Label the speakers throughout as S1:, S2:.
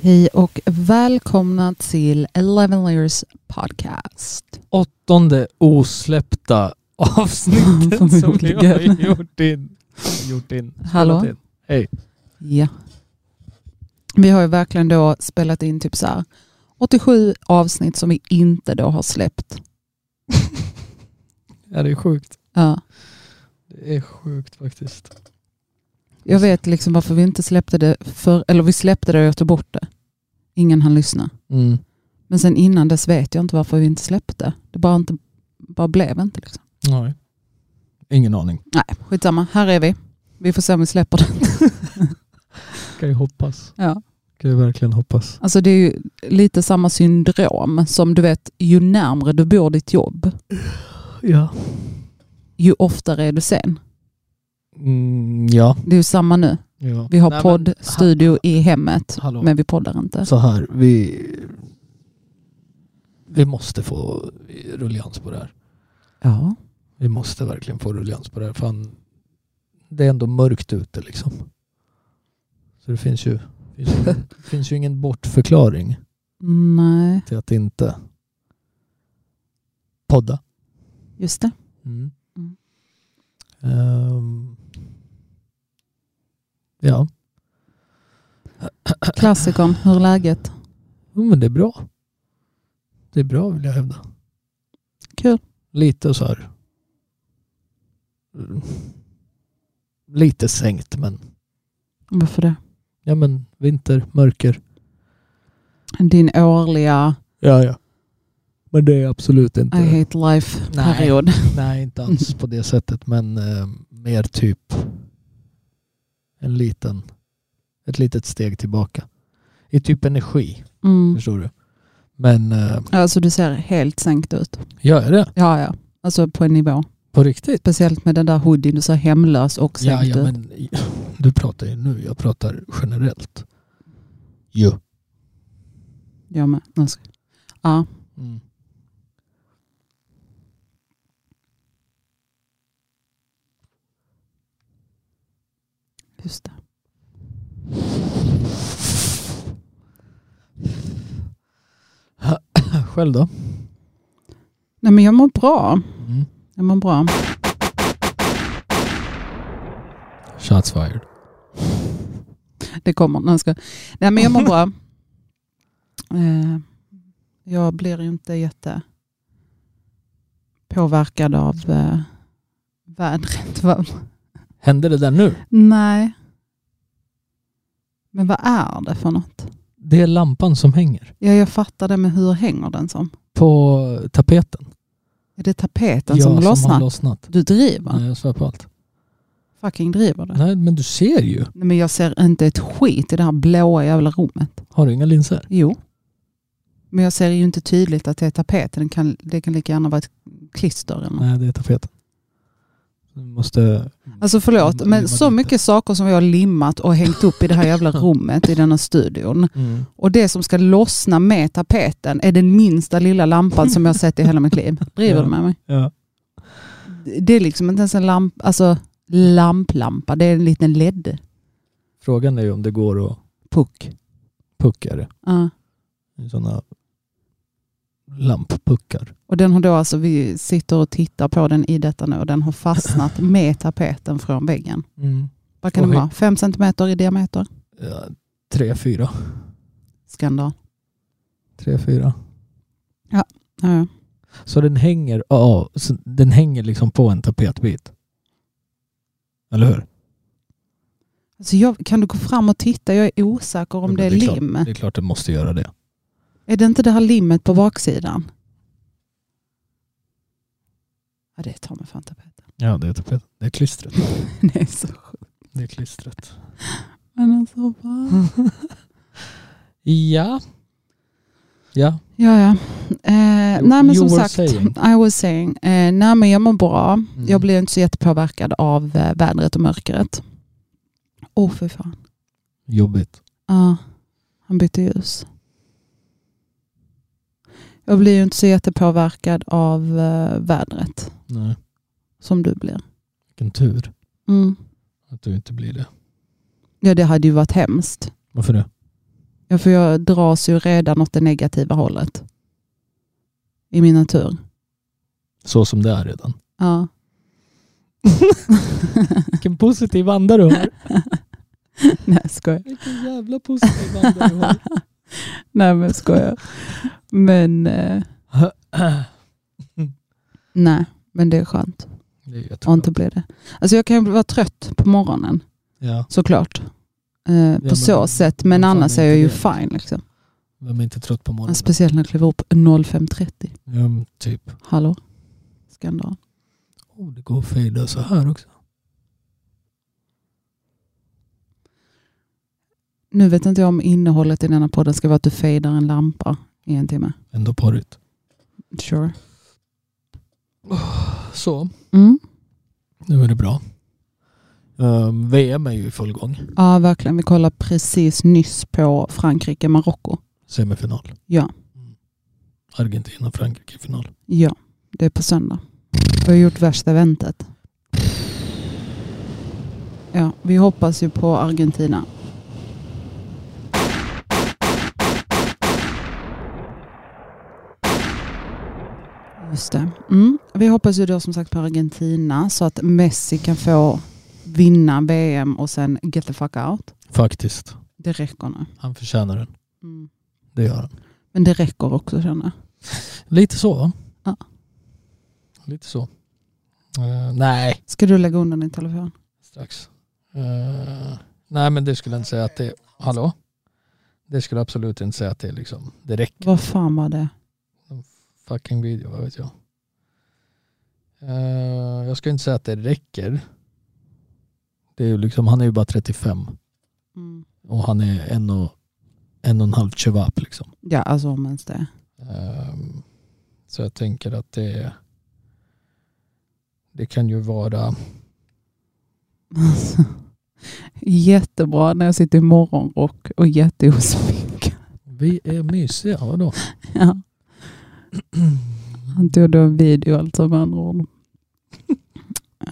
S1: Hej och välkomna till Eleven Layers podcast.
S2: åttonde osläppta avsnittet som vi har
S1: Förmodligen.
S2: gjort in. Gjort in. Spelat
S1: Hallå?
S2: in. Hej.
S1: Ja. Vi har ju verkligen då spelat in typ så här 87 avsnitt som vi inte då har släppt.
S2: Ja, det är sjukt.
S1: Ja.
S2: Det är sjukt faktiskt.
S1: Jag vet liksom varför vi inte släppte det för eller vi släppte det och jag tog bort det. Ingen hann lyssna.
S2: Mm.
S1: Men sen innan dess vet jag inte varför vi inte släppte. Det bara, inte, bara blev inte. Liksom.
S2: Nej. Ingen aning.
S1: Nej, skitsamma. Här är vi. Vi får se om vi släpper det.
S2: Kan ju hoppas.
S1: Ja.
S2: Kan ju verkligen hoppas.
S1: Alltså det är ju lite samma syndrom som du vet, ju närmre du bor ditt jobb,
S2: Ja.
S1: ju oftare är du sen.
S2: Mm, ja.
S1: Det är ju samma nu.
S2: ja.
S1: Vi har
S2: Nej, men-
S1: poddstudio i hemmet,
S2: Hallå.
S1: men vi poddar inte.
S2: Så här, vi... Vi måste få ruljans på det här.
S1: Ja.
S2: Vi måste verkligen få ruljans på det här. Fan, det är ändå mörkt ute liksom. Så det finns ju, finns ju, ingen- finns ju ingen bortförklaring
S1: Nej,
S2: till att inte podda.
S1: just det. Mm.
S2: Ehm, ja,
S1: Klassikern, hur är läget?
S2: Jo, men det är bra. Det är bra vill jag hävda.
S1: Kul.
S2: Lite så här. mm, Lite sänkt men
S1: Varför det?
S2: ja men vinter, mörker.
S1: Din årliga
S2: Ja, ja. Men det är absolut inte...
S1: I hate life-period.
S2: Nej, inte alls på det sättet. Men eh, mer typ en liten, ett litet steg tillbaka. I typ energi,
S1: Mm.
S2: förstår du. Men eh,
S1: Alltså du ser helt sänkt ut.
S2: gör jag det?
S1: Ja, ja. Alltså på en nivå.
S2: På riktigt?
S1: Speciellt med den där hoodien, du ser hemlös och
S2: Ja,
S1: sänkt
S2: ja,
S1: ut.
S2: men du pratar ju nu. Jag pratar generellt. Jo.
S1: Jag med. Jag ska- Ja,
S2: Mm.
S1: just det.
S2: Själv då?
S1: Nej men jag mår bra.
S2: Mm.
S1: Jag mår bra.
S2: Shots fired.
S1: Det kommer. Nej, jag skojar. Nej men jag mår bra. Eh, jag blir ju inte jätte påverkad av eh, vädret. Va?
S2: Hände det där nu?
S1: Nej. Men vad är det för något?
S2: Det är lampan som hänger
S1: Ja, jag fattar det, men hur hänger den som?
S2: på tapeten.
S1: Är det tapeten
S2: ja,
S1: som
S2: Som har
S1: lossnar?
S2: lossnat.
S1: Du driver?
S2: Nej, jag svär på allt.
S1: Fucking driver det? Nej.
S2: Nej, men du ser ju.
S1: men jag ser inte ett skit i det här blåa jävla rummet.
S2: Har du inga linser?
S1: Jo. Men jag ser ju inte tydligt att det är tapeten. Den kan, det kan lika gärna vara ett klister. Eller något.
S2: Nej, det är tapeten. Du måste...
S1: Alltså förlåt,
S2: Mm,
S1: men
S2: det var
S1: så
S2: lite.
S1: mycket saker som jag har limmat och hängt upp i det här jävla rummet i denna studion.
S2: Mm.
S1: Och det som ska lossna med tapeten är den minsta lilla lampan som jag sett i hela mitt liv. Driver du
S2: Ja.
S1: med mig?
S2: Ja.
S1: Det är liksom inte ens en lamp, alltså lamplampa, det är en liten LED-puck.
S2: Frågan är ju om det går att pucka det.
S1: Ja.
S2: Sådana lamppuckar.
S1: Och den har då alltså, vi sitter och tittar på den i detta nu och den har fastnat med tapeten från väggen.
S2: Mm.
S1: Vad kan
S2: Oj.
S1: den vara? Fem centimeter i diameter?
S2: Ja, tre, fyra.
S1: Skandal.
S2: Tre, fyra.
S1: Ja, ja.
S2: Så den hänger, ja, så den hänger liksom på en tapetbit. Eller hur?
S1: Alltså jag, kan du gå fram och titta? Jag är osäker
S2: Ja,
S1: om
S2: men
S1: det är,
S2: klart-
S1: lim.
S2: det är klart det måste göra det.
S1: Är det inte det här limmet på baksidan? Ja, det tar mig fan tapeten.
S2: Ja, det är tapeten. Det är klistret.
S1: Det är så sjukt.
S2: Det är klistret.
S1: Men alltså, va?
S2: Mm. Ja. Ja.
S1: Ja, ja. Eh,
S2: You-
S1: nej, men
S2: you
S1: som
S2: were
S1: sagt,
S2: saying. Mm.
S1: I was saying. Eh, nej, men jag mår bra. Mm. Jag blir inte så jättepåverkad av eh, vädret och mörkret. Åh, oh, fy fan.
S2: Jobbigt.
S1: Ja, han bytte ljus. Jag blir ju inte så jättepåverkad av eh, vädret
S2: Nej,
S1: som du blir.
S2: vilken tur
S1: Mm.
S2: att du inte blir det.
S1: Ja, det hade ju varit hemskt.
S2: Varför det?
S1: Ja, för jag dras ju redan åt det negativa hållet. I min natur.
S2: Så som det är redan.
S1: Ja.
S2: Vilken positiv anda du har.
S1: Nej, jag skojar.
S2: Vilken jävla positiv anda du har.
S1: Nej, men jag skojar. Men eh, nej, men det är skönt.
S2: Det är jättebra.
S1: Och inte blir det. Alltså jag kan ju vara trött på morgonen,
S2: Ja,
S1: såklart. Eh, på
S2: men-
S1: så sätt, men
S2: men fan
S1: annars
S2: är
S1: är jag
S2: inte
S1: ju
S2: det.
S1: fine. Liksom.
S2: vem är inte trött på morgonen?
S1: Men Speciellt när jag kliver upp 05.30.
S2: Ja, men typ.
S1: Hallå? Skandal.
S2: Oh, det går att fejda så här också.
S1: Nu vet inte jag om innehållet i denna podden ska vara att du fejdar en lampa i en timme.
S2: Ändå porrigt.
S1: Sure.
S2: Så,
S1: Mm.
S2: nu är det bra. Ehm, VM är ju i full gång.
S1: Ja, verkligen. Vi kollade precis nyss på Frankrike-Marocko.
S2: Semifinal. Mm.
S1: Ja.
S2: Argentina, Frankrike i final.
S1: ja, det är på söndag. Vi har gjort värsta väntet. Ja, vi hoppas ju på Argentina. Just det. Mm. Vi hoppas ju då som sagt på Argentina så att Messi kan få vinna VM och sen get the fuck out.
S2: Faktiskt.
S1: Det räcker nu.
S2: Han förtjänar den.
S1: Mm.
S2: Det gör han.
S1: Men det räcker också känner jag.
S2: Lite så va?
S1: Ja.
S2: Lite så. Eh, nej,
S1: Ska du lägga undan din telefon?
S2: strax. Eh, nej men det skulle jag inte säga att det... Hallå? Det skulle jag absolut inte säga att det är liksom... Det räcker.
S1: Vad fan var det?
S2: fucking video, vad vet jag. Eh, jag ska inte säga att det räcker. Det är ju liksom, han är ju bara 35
S1: Mm.
S2: och han är en och en och en halv chevap liksom.
S1: Ja, alltså om ens det.
S2: Ehm, så jag tänker att det det kan ju vara,
S1: Jättebra när jag sitter i morgonrock och jätteosminkad.
S2: vi är mysiga, vadå?
S1: Ja. Han tog då en video alltså med andra ord.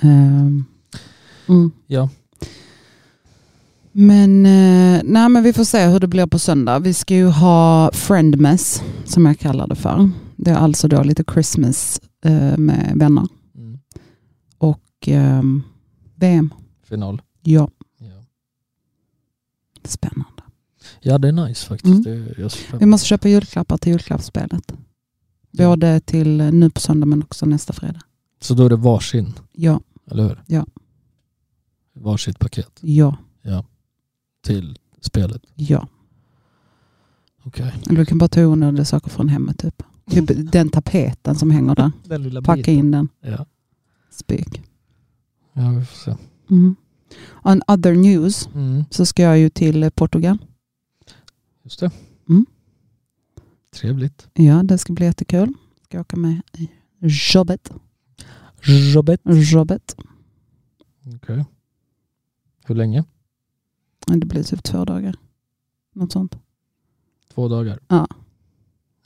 S1: Ehm, mm.
S2: Ja.
S1: Men, eh, nej, men vi får se hur det blir på söndag. Vi ska ju ha friendmess som jag kallar det för. Det är alltså då lite Christmas eh, med vänner
S2: Mm.
S1: och ehm, VM.
S2: Final.
S1: Ja,
S2: Ja.
S1: spännande.
S2: ja, det är nice
S1: Mm.
S2: faktiskt. Det, jag ser fram
S1: Vi måste köpa julklappar till julklappsspelet.
S2: Ja.
S1: Både till eh, nu på söndag men också nästa fredag.
S2: Så då är det varsin,
S1: Ja,
S2: eller hur?
S1: Ja.
S2: Varsitt paket
S1: ja,
S2: till spelet.
S1: ja.
S2: Okej.
S1: Eller du kan bara ta onödiga saker från hemmet typ. typ den tapeten som hänger där.
S2: Den lilla
S1: Packa in den.
S2: Ja.
S1: Spik.
S2: ja, vi får se.
S1: Mm. On other news
S2: Mm.
S1: så ska jag ju till Portugal.
S2: Just det.
S1: Mm.
S2: Trevligt.
S1: Ja, det ska bli jättekul. Ska åka med i jobbet.
S2: Robert.
S1: jobbet.
S2: Hur länge?
S1: Det blir typ två dagar. Något sånt.
S2: Två dagar?
S1: Ja.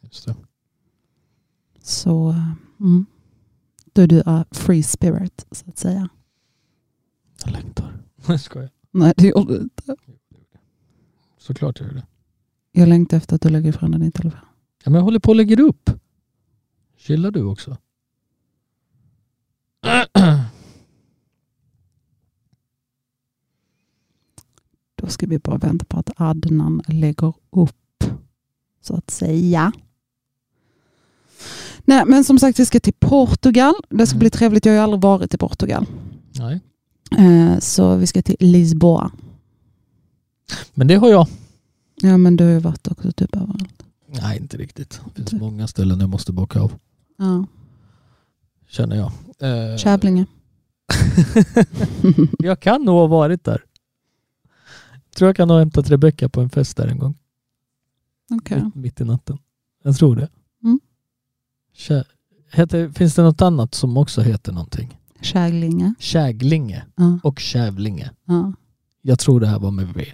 S2: Just det.
S1: Så mm. då är du a free spirit så att säga.
S2: Jag längtar. Jag skojar.
S1: Nej, det gjorde du inte.
S2: Såklart gör jag det.
S1: Jag längtar efter att du lägger ifrån dig din telefon.
S2: Ja, men jag håller på och lägger upp. Chillar du också?
S1: Då ska vi bara vänta på att Adnan lägger upp, så att säga. Nej, men som sagt, vi ska till Portugal. Det ska
S2: Mm.
S1: bli trevligt. Jag har ju aldrig varit i Portugal.
S2: Nej.
S1: Eh, så vi ska till Lisboa.
S2: Men det har jag.
S1: Ja, men du har ju varit också typ överallt.
S2: Nej, inte riktigt. Det finns
S1: Du-
S2: många ställen jag måste bocka av.
S1: Ja.
S2: Känner jag. Eh,
S1: Kävlinge.
S2: jag kan nog ha varit där. Tror jag kan ha hämtat Rebecka på en fest där en gång.
S1: Okej.
S2: Mitt, mitt i natten. Jag tror det.
S1: Mm.
S2: Kä- Heter, finns det något annat som också heter någonting?
S1: Käglinge.
S2: Käglinge
S1: Ja.
S2: och Kävlinge.
S1: ja.
S2: Jag tror det här var med V.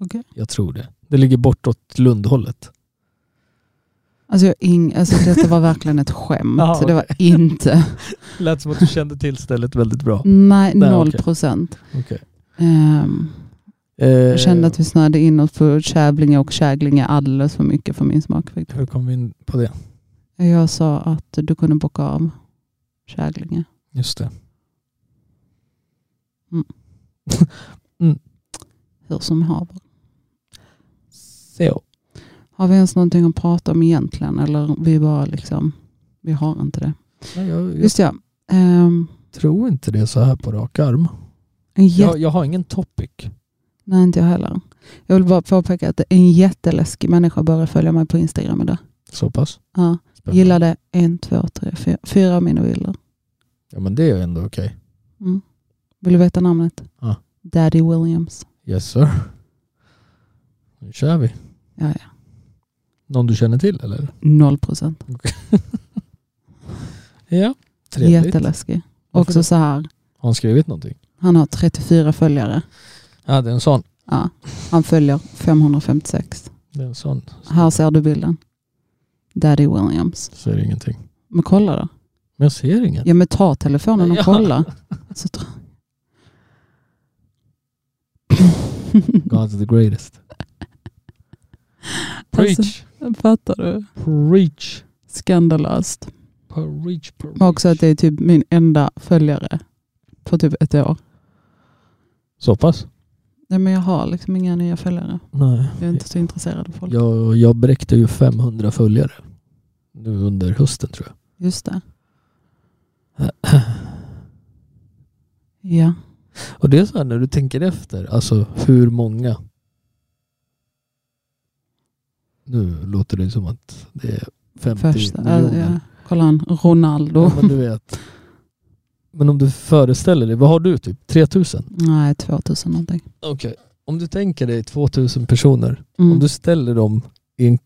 S1: Okej.
S2: Jag tror det. Det ligger bortåt Lundhållet.
S1: Alltså, jag ing- alltså, detta var verkligen ett skämt.
S2: Ja,
S1: Det var inte...
S2: Lät som att du kände till stället väldigt bra.
S1: Nej,
S2: Nej,
S1: noll
S2: okej.
S1: procent.
S2: Okej.
S1: Ehm,
S2: Eh,
S1: Jag kände att vi snöade inåt på Kävlinge och Käglinge alldeles för mycket för min smak. faktiskt.
S2: Hur kom vi in på det?
S1: Jag sa att du kunde bocka av Käglinge.
S2: Just det.
S1: Hur som haver.
S2: Så.
S1: Har vi ens någonting att prata om egentligen? Eller vi bara liksom, vi har inte det.
S2: Nej, jag, jag
S1: Just ja. Ehm,
S2: tror inte det så här på rak arm.
S1: en jätte,
S2: Jag, jag har ingen topic.
S1: Nej, inte jag heller. Jag vill bara påpeka att en jätteläskig människa började följa mig på Instagram idag.
S2: Så pass.
S1: Ja,
S2: Spännande.
S1: gillade en, två, tre, fyra, fyra av mina bilder.
S2: Ja men det är ju ändå okej.
S1: Mm. Vill du veta namnet?
S2: Ja.
S1: Daddy Williams.
S2: Yes sir. Nu kör vi.
S1: Ja, ja.
S2: Någon du känner till eller?
S1: Noll procent.
S2: Ja. Trevligt.
S1: Jätteläskig.
S2: Varför
S1: Också
S2: det?
S1: så här,
S2: Har han skrivit någonting?
S1: han har 34 följare.
S2: Ja det är en sån.
S1: Ja. Han följer 556.
S2: Det är en sån.
S1: Här ser du bilden. Daddy Williams.
S2: Ser ingenting.
S1: Men kolla då.
S2: Men jag ser inget.
S1: Ja men ta telefonen och
S2: Ja.
S1: kolla. Så tr-
S2: God's the greatest. Preach.
S1: Alltså- Fattar du?
S2: Preach.
S1: Skandalöst.
S2: Preach. Preach.
S1: Men också att det är typ min enda följare på typ ett år.
S2: Så pass?
S1: Nej men jag har liksom inga nya följare.
S2: Nej.
S1: Jag är inte så intresserad av folk.
S2: Jag, jag bräckte ju 500 följare nu under hösten tror jag.
S1: Just det. Ja.
S2: Och det är så här när du tänker efter, alltså hur många? Nu låter det som att det är 50
S1: Första.
S2: miljoner.
S1: ja. Kolla han. Ronaldo.
S2: Ja, men du vet. Men om du föreställer dig, vad har du typ? 3000?
S1: Nej 2000 någonting.
S2: Okej. Om du tänker dig 2000 personer,
S1: Mm.
S2: om du ställer dem i en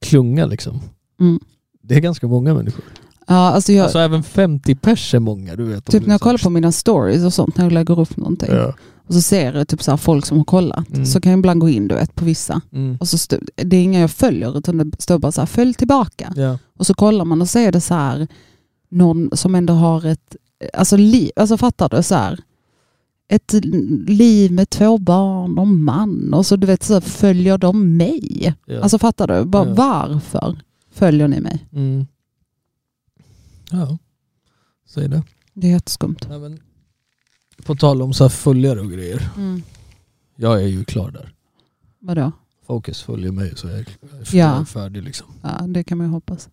S2: klunga liksom.
S1: Mm.
S2: Det är ganska många människor.
S1: Ja alltså jag.
S2: Alltså även 50 pers är många, du vet. om
S1: Typ
S2: du
S1: när jag
S2: så-
S1: kollar på mina stories och sånt, när jag lägger upp någonting
S2: Ja.
S1: och så ser jag typ så här folk som har kollat
S2: Mm.
S1: så kan jag ibland gå in du vet, på vissa
S2: Mm.
S1: och så stå, det är inga jag följer utan det står bara så här följ tillbaka
S2: Ja.
S1: och så kollar man och så är det så här någon som ändå har ett, alltså, li, alltså fattar du så här ett liv med två barn och man och så du vet så här, följer de mig?
S2: Ja.
S1: Alltså fattar du? Bara,
S2: Ja.
S1: Varför följer ni mig?
S2: Mm. Ja, säg det.
S1: Det är jätteskumt.
S2: Nej, men, på tal om så här följare och grejer. Jag är ju klar där.
S1: Vadå?
S2: Fokus följer mig så jag är f-
S1: Ja.
S2: färdig liksom.
S1: Ja, det kan man ju hoppas.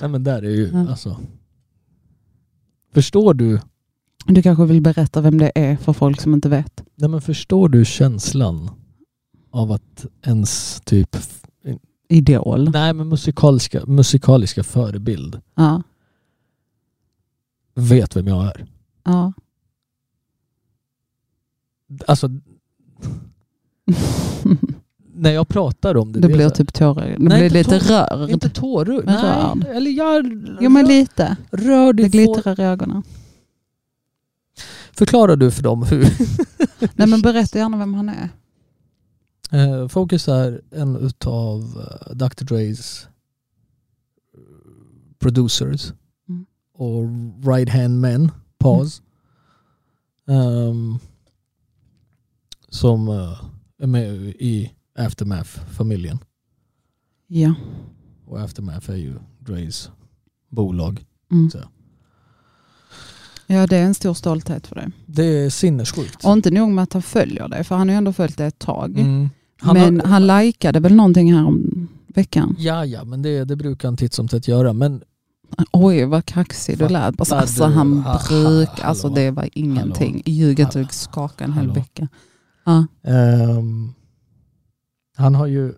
S2: Nej men där är ju
S1: Ja.
S2: alltså. Förstår du,
S1: Du kanske vill berätta vem det är för folk som inte vet.
S2: nej men förstår du känslan av att ens typ, f-
S1: Idol.
S2: nej men musikaliska, musikaliska förebild
S1: Ja,
S2: vet vem jag är.
S1: ja.
S2: Alltså när jag pratar om det.
S1: du
S2: det är
S1: blir
S2: så här-
S1: typ tårögd. Du
S2: Nej,
S1: blir
S2: inte
S1: lite
S2: tår- Inte
S1: rörd.
S2: tårögd.
S1: Men
S2: Nej,
S1: rörd.
S2: eller jag
S1: Jo men lite. Det
S2: rör dig. Får...
S1: glittrar i ögonen.
S2: Förklarar du för dem hur?
S1: Nej men berätta gärna vem han är.
S2: Eh, Focus är en utav eh, Dr. Dre's eh, producers
S1: Mm.
S2: och right hand men, Paz. Ehm, som eh, är med i Aftermath-familjen.
S1: Ja.
S2: Och Aftermath är ju Dre's bolag.
S1: Mm.
S2: Så.
S1: Ja det är en stor stolthet för dig.
S2: Det är sinnessjukt.
S1: Och inte nog med att han följer dig, för han har ju ändå följt dig ett tag.
S2: Mm.
S1: men han likade väl någonting här om veckan.
S2: Ja, ja, men det, det brukar han titt som tätt göra. Men
S1: Oj vad kaxig du lät. Alltså,
S2: Fattar
S1: alltså
S2: du?
S1: han
S2: Ah,
S1: brukar,
S2: hallå.
S1: alltså det var ingenting. Ljuget och skaka en hel
S2: Hallå.
S1: vecka. Ja.
S2: ehm, han har ju...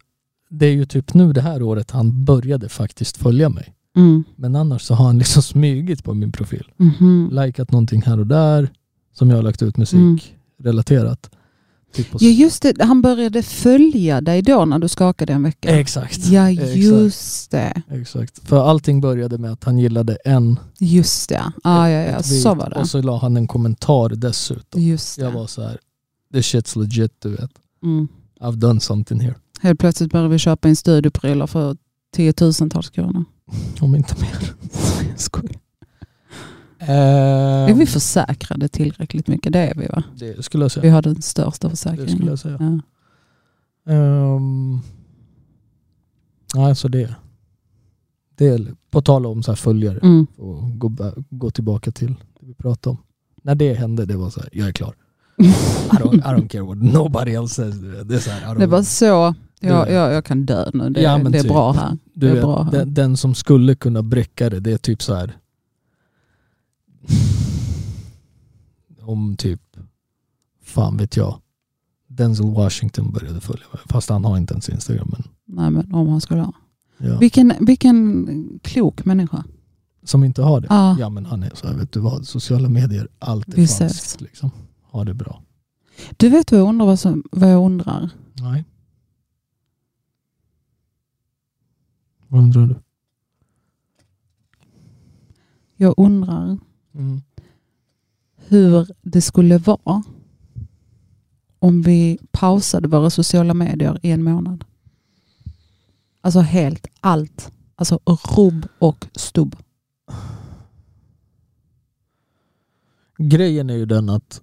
S2: Det är ju typ nu det här året han började faktiskt följa mig.
S1: Mm.
S2: Men annars så har han liksom smygit på min profil.
S1: Mhm.
S2: Likat någonting här och där som jag har lagt ut musik
S1: Mm.
S2: relaterat. Typ på
S1: Ja just det, han började följa dig då när du skakade en vecka.
S2: Exakt.
S1: Ja
S2: Exakt.
S1: just det.
S2: Exakt. För allting började med att han gillade en
S1: Just det. Ah, ja, ja,
S2: ett beat
S1: så var det.
S2: och så la han en kommentar dessutom.
S1: Just
S2: Jag
S1: det.
S2: var så här, this shit's legit du vet.
S1: Mm.
S2: I've done something here.
S1: Helt plötsligt började vi köpa in studioprylar för tiotusentals kronor.
S2: Om inte mer.
S1: Skoj. Är vi försäkrade tillräckligt mycket? Det är vi va?
S2: Ehm, det skulle jag
S1: Vi
S2: säga.
S1: har den största
S2: Det skulle
S1: försäkringen.
S2: jag säga.
S1: Ja.
S2: Ehm, nej, så det. Det är på tal om så här följare
S1: Mm.
S2: och gå, ba- gå tillbaka till det vi pratade om. När det hände, det var så här, jag är klar. I don't, I don't care what nobody else says. Det är så här, I don't
S1: Det var så, jag,
S2: Du-
S1: jag, jag kan dö nu, det,
S2: Ja, men
S1: det är
S2: typ.
S1: bra här.
S2: Du
S1: Det är
S2: vet,
S1: bra.
S2: den, den som skulle kunna bräcka det, det är typ så här. Om typ, fan vet jag, Denzel Washington började följa mig. Fast han har inte ens Instagram. Men,
S1: Nej, men om han skulle ha.
S2: ja.
S1: Vilken, vilken klok människa.
S2: Som inte har det.
S1: Ja.
S2: Ja men han är så här, vet du vad, sociala medier, allt är
S1: Vi ses.
S2: falskt. Liksom. Ha det bra.
S1: Du vet vad jag undrar? Vad, som, vad jag undrar?
S2: Nej. Vad undrar du?
S1: Jag undrar hur det skulle vara om vi pausade våra sociala medier i en månad. Alltså helt allt. Alltså rubb och stubb.
S2: Grejen är ju den att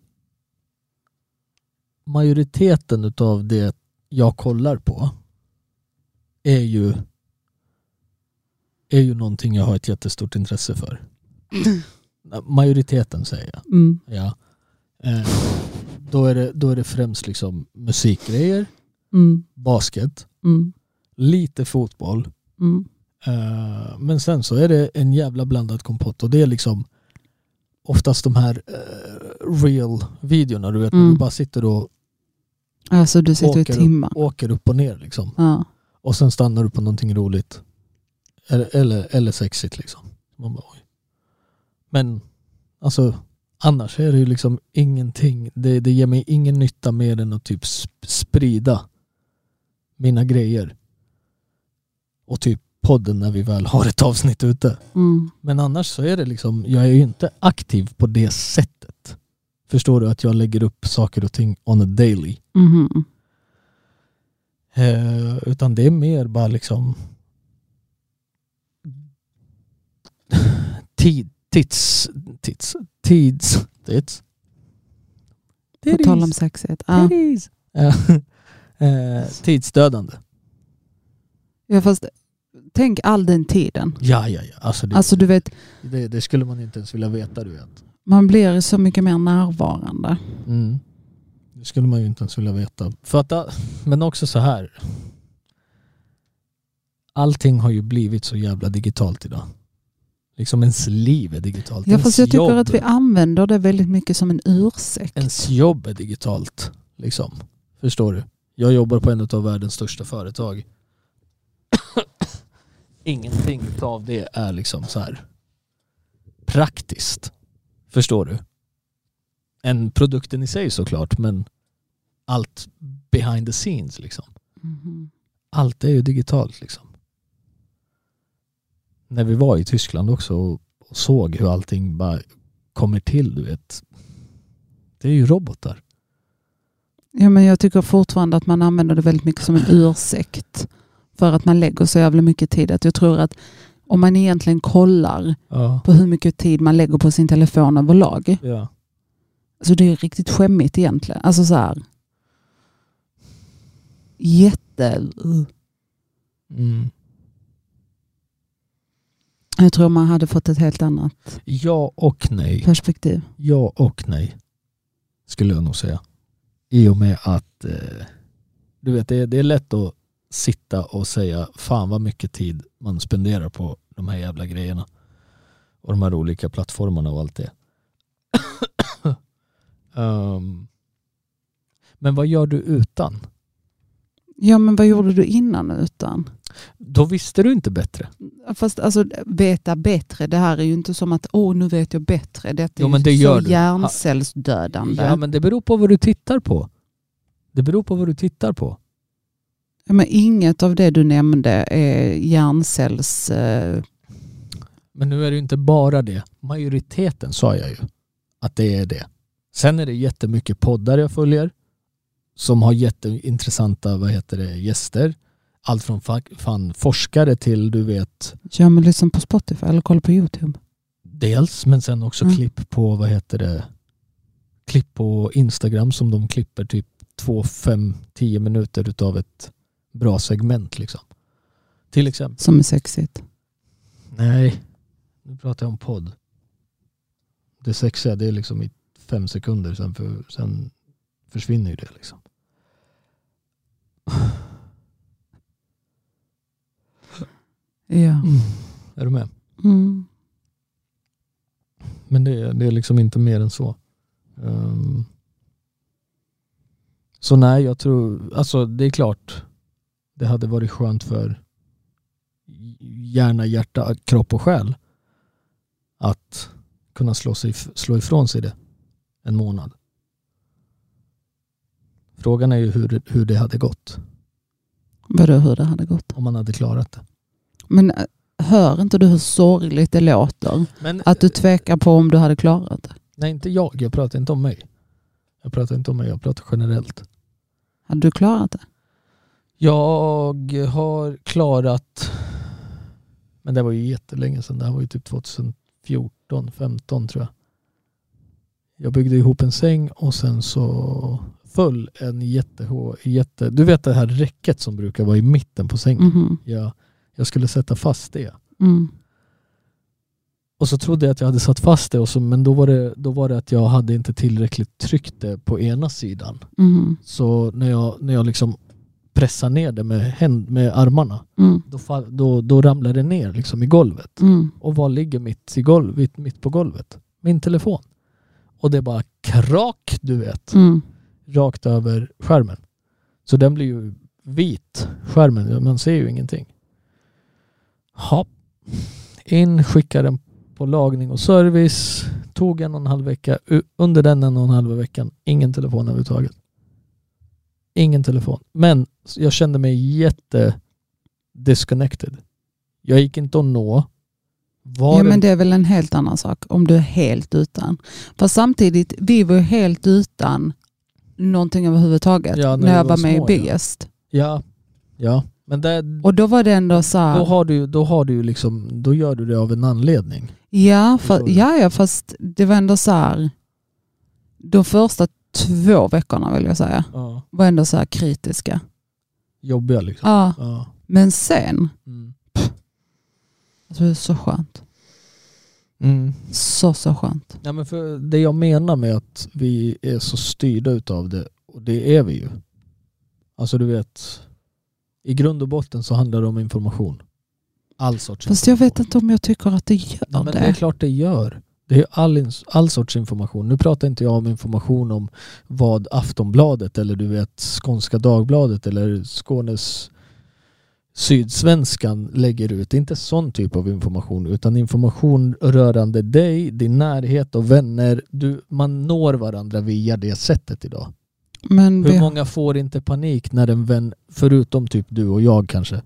S2: majoriteten av det jag kollar på är ju, är ju någonting jag har ett jättestort intresse för. Majoriteten säger jag.
S1: Mm.
S2: Ja. Eh, då, är det, då är det främst liksom musikgrejer,
S1: Mm.
S2: basket,
S1: Mm.
S2: lite fotboll.
S1: Mm.
S2: Eh, men sen så är det en jävla blandad kompott och det är liksom oftast de här eh, real-videorna. Du vet när
S1: Mm.
S2: du bara sitter och
S1: Alltså du sitter i
S2: Åker upp.
S1: timmar.
S2: åker upp och ner liksom.
S1: Ja.
S2: Och sen stannar du på någonting roligt. Eller, eller, eller sexigt liksom. Man bara, oj. Men alltså annars är det ju liksom ingenting. Det, det ger mig ingen nytta mer än att typ sp- sprida mina grejer. Och typ podden när vi väl har ett avsnitt ute.
S1: Mm.
S2: Men annars så är det liksom, jag är ju inte aktiv på det sättet. Förstår du att jag lägger upp saker och ting on a daily.
S1: Mhm.
S2: Eh, utan det är mer bara liksom tid, tids, tids, tids, tids.
S1: På tal om sexighet. Ja.
S2: Titties. Eh, eh, tidsdödande.
S1: Ja, fast, tänk all den tiden.
S2: Ja, ja, ja. Alltså det,
S1: Alltså du vet,
S2: det, det skulle man inte ens vilja veta, du vet.
S1: man blir så mycket mer närvarande.
S2: Mm. Det skulle man ju inte ens vilja veta. För att, ah, men också så här. Allting har ju blivit så jävla digitalt idag. Liksom ens liv är digitalt.
S1: Ja,
S2: ens
S1: fast jag tycker
S2: jobb,
S1: att vi använder det väldigt mycket som en ursäkt.
S2: Ens jobb är digitalt. Liksom. Förstår du? Jag jobbar på en av världens största företag. Ingenting av det är liksom så här praktiskt. Förstår du? En produkten i sig såklart, men allt behind the scenes liksom.
S1: Mhm.
S2: Allt är ju digitalt liksom. När vi var i Tyskland också och och såg hur allting bara kommer till, du vet. Det är ju robotar.
S1: Ja, men jag tycker fortfarande att man använder det väldigt mycket som en ursäkt. För att man lägger så jävla mycket tid. Att jag tror att om man egentligen kollar
S2: Ja.
S1: på hur mycket tid man lägger på sin telefon överlag.
S2: ja.
S1: Alltså det är ju riktigt skämmigt egentligen. Alltså så här. Jätte...
S2: Mm.
S1: Jag tror man hade fått ett helt annat
S2: Ja och nej.
S1: perspektiv.
S2: Ja och nej. Skulle jag nog säga. I och med att eh, du vet, det är, det är lätt att sitta och säga fan vad mycket tid man spenderar på de här jävla grejerna. Och de här olika plattformarna och allt det. Ehm, men vad gör du utan?
S1: Ja men vad gjorde du innan utan?
S2: Då visste du inte bättre.
S1: Fast alltså veta bättre, det här är ju inte som att åh nu vet jag bättre. Detta är
S2: Jo, men
S1: ju
S2: det gör
S1: så
S2: du.
S1: hjärncellsdödande.
S2: Ja men det beror på vad du tittar på. Det beror på vad du tittar på.
S1: Ja, Men inget av det du nämnde är hjärncells... Eh,
S2: Men nu är det ju inte bara det. Majoriteten sa jag ju att det är det. Sen är det jättemycket poddar jag följer som har jätteintressanta vad heter det, gäster. Allt från fa- fan forskare till du vet
S1: ja men lyssna på Spotify eller kolla på YouTube.
S2: Dels, men sen också
S1: Mm.
S2: klipp på, vad heter det, klipp på Instagram som de klipper typ två, fem, tio minuter utav ett bra segment liksom. Till exempel.
S1: som är sexigt.
S2: Nej, nu pratar jag om podd. Det sexiga det är liksom i fem sekunder, sen, för, sen försvinner ju det liksom.
S1: Ja.
S2: Är du med?
S1: Mm.
S2: Men det, det är liksom inte mer än så. Ehm, så nej, jag tror, alltså det är klart, det hade varit skönt för hjärna, hjärta, kropp och själ att kunna slå, sig, slå ifrån sig det en månad. Frågan är ju hur, hur det hade gått
S1: Vadå hur det hade gått?
S2: om man hade klarat det.
S1: Men eh, hör inte du hur sorgligt det låter?
S2: Men,
S1: Att du tvekar på om du hade klarat det.
S2: nej, inte jag. Jag pratar inte om mig. Jag pratar inte om mig. Jag pratar generellt.
S1: Hade du klarat det?
S2: Jag har klarat, men det var ju jättelänge sedan, det här var ju typ 2014, 15 tror jag. Jag byggde ihop en säng och sen så föll en jättehå, jätte, du vet det här räcket som brukar vara i mitten på sängen.
S1: Mhm.
S2: Jag, jag skulle sätta fast det.
S1: Mm.
S2: Och så trodde jag att jag hade satt fast det, och så, men då var det, då var det att jag hade inte tillräckligt tryckt det på ena sidan.
S1: Mhm.
S2: Så när jag, när jag liksom pressar ner det med, händ, med armarna
S1: Mm.
S2: då, fall- då, då ramlar det ner liksom i golvet.
S1: Mm.
S2: Och vad ligger mitt, i golvet, mitt på golvet? Min telefon. Och det bara krak, du vet,
S1: Mm.
S2: rakt över skärmen. Så den blir ju vit, skärmen. Man ser ju ingenting. Hopp. In, skickar den på lagning och service. Tog en och en halv vecka. U- Under den en och en halv veckan, ingen telefon överhuvudtaget. Ingen telefon. Men jag kände mig jätte disconnected. Jag gick inte att nå. Var
S1: Ja,
S2: det-
S1: men det är väl en helt annan sak om du är helt utan. För samtidigt, vi var ju helt utan någonting överhuvudtaget
S2: Ja,
S1: när, jag var med
S2: små,
S1: i
S2: ja.
S1: Biggest.
S2: Ja, ja. Men där,
S1: Och då var det ändå så här,
S2: då har du då har du ju liksom, då gör du det av en anledning.
S1: ja, för,
S2: Förstår du?
S1: ja, ja, fast det var ändå så här, de första två veckorna vill jag säga,
S2: Ja.
S1: var ändå så här kritiska.
S2: Jobbiga liksom.
S1: Ja,
S2: Ja.
S1: men sen,
S2: Mm.
S1: alltså det är så skönt. Så, så skönt.
S2: Ja, men för det jag menar med att vi är så styrda utav det, och det är vi ju. Alltså du vet, i grund och botten så handlar det om information. All sorts
S1: Fast jag
S2: information.
S1: vet inte om jag tycker att det gör
S2: Ja, men det är
S1: det.
S2: klart det gör. Det är all, ins- all sorts information. Nu pratar inte jag om information om vad Aftonbladet eller du vet Skånska Dagbladet eller Skånes Sydsvenskan lägger ut. Det är inte sån typ av information utan information rörande dig, din närhet och vänner. Du, man når varandra via det sättet idag.
S1: Men
S2: Hur
S1: vi,
S2: många får inte panik när en vän, förutom typ du och jag kanske,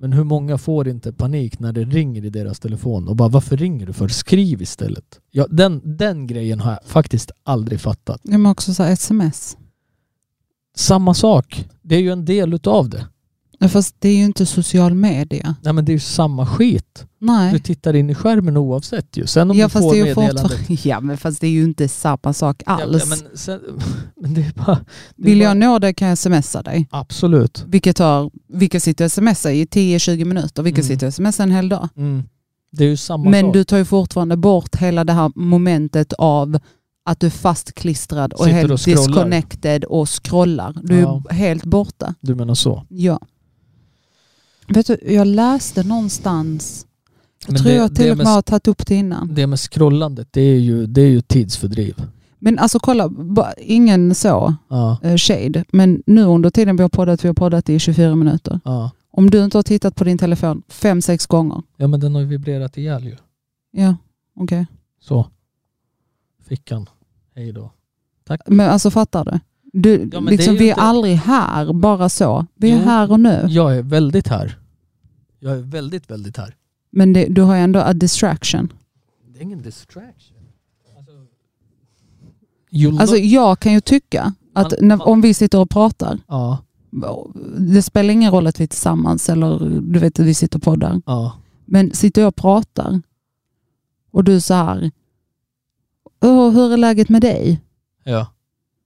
S2: men hur många får inte panik när det ringer i deras telefon och bara varför ringer du för? Skriv istället. Ja, den, den grejen har jag faktiskt aldrig fattat.
S1: jag måste också säga sms.
S2: Samma sak, det är ju en del utav det.
S1: Ja, Fast det är ju inte social media.
S2: Nej men det är ju samma skit. Du
S1: Nej.
S2: tittar in i skärmen oavsett ju. Sen om
S1: Ja,
S2: du
S1: fast
S2: får
S1: det är ju
S2: meddelandet.
S1: fortfar- ja men fast det är ju inte samma sak alls.
S2: Ja, men, sen, men det är bara... Det är
S1: Vill
S2: bara
S1: jag nå dig kan jag smsa dig.
S2: Absolut.
S1: Vilket tar, vilka sitter och smsar i 10-20 minuter, vilka
S2: Mm.
S1: sitter och smsar en hel dag.
S2: Mm. Det är ju samma
S1: Men
S2: sak.
S1: du tar ju fortfarande bort hela det här momentet av att du är fastklistrad och
S2: Sitter
S1: helt
S2: och scrollar.
S1: disconnected och scrollar. Du är
S2: Ja.
S1: ju helt borta.
S2: Du menar så.
S1: Ja. Vet du, jag läste någonstans,
S2: Men
S1: tror
S2: det,
S1: jag
S2: det
S1: till
S2: är
S1: och
S2: med
S1: med har tagit upp det innan.
S2: Det med scrollandet, det är ju, det är ju tidsfördriv.
S1: Men alltså kolla, ba- ingen så
S2: Ja,
S1: eh, shade, men nu under tiden vi har poddat, vi har poddat i 24 minuter.
S2: ja.
S1: Om du inte har tittat på din telefon fem, sex gånger,
S2: ja men den har ju vibrerat ihjäl ju.
S1: ja okej.
S2: Så. Fickan. Hej då.
S1: Men alltså fattar du? du
S2: Ja, men det
S1: liksom,
S2: är ju
S1: vi är
S2: inte-
S1: aldrig här bara så. Vi är
S2: Jo.
S1: här och nu.
S2: Jag är väldigt här. Jag är väldigt, väldigt här.
S1: Men det, du har ju ändå a distraction.
S2: Det är ingen distraction. Alltså, you
S1: Alltså
S2: look-
S1: jag kan ju tycka att
S2: Man-
S1: när, om vi sitter och pratar,
S2: ja,
S1: det spelar ingen roll att vi är tillsammans eller du vet att vi sitter och poddar.
S2: ja.
S1: Men sitter jag och pratar Och du så här, "Åh, hur är läget med dig?
S2: Ja,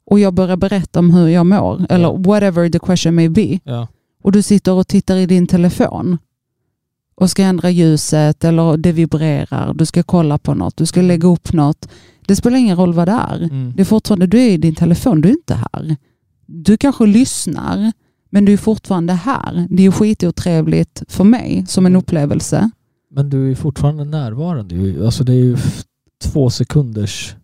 S1: Och jag börjar berätta om hur jag mår, eller
S2: Ja.
S1: whatever the question may be.
S2: ja,
S1: Och du sitter och tittar i din telefon och ska ändra ljuset eller det vibrerar, du ska kolla på något, du ska lägga upp något. Det spelar ingen roll vad det är.
S2: mm.
S1: Det är fortfarande, du är i din telefon, du är inte här. Du kanske lyssnar, men du är fortfarande här. Det är skitotrevligt för mig som en upplevelse.
S2: Men du är fortfarande närvarande. ju. Alltså det är ju f- två sekunders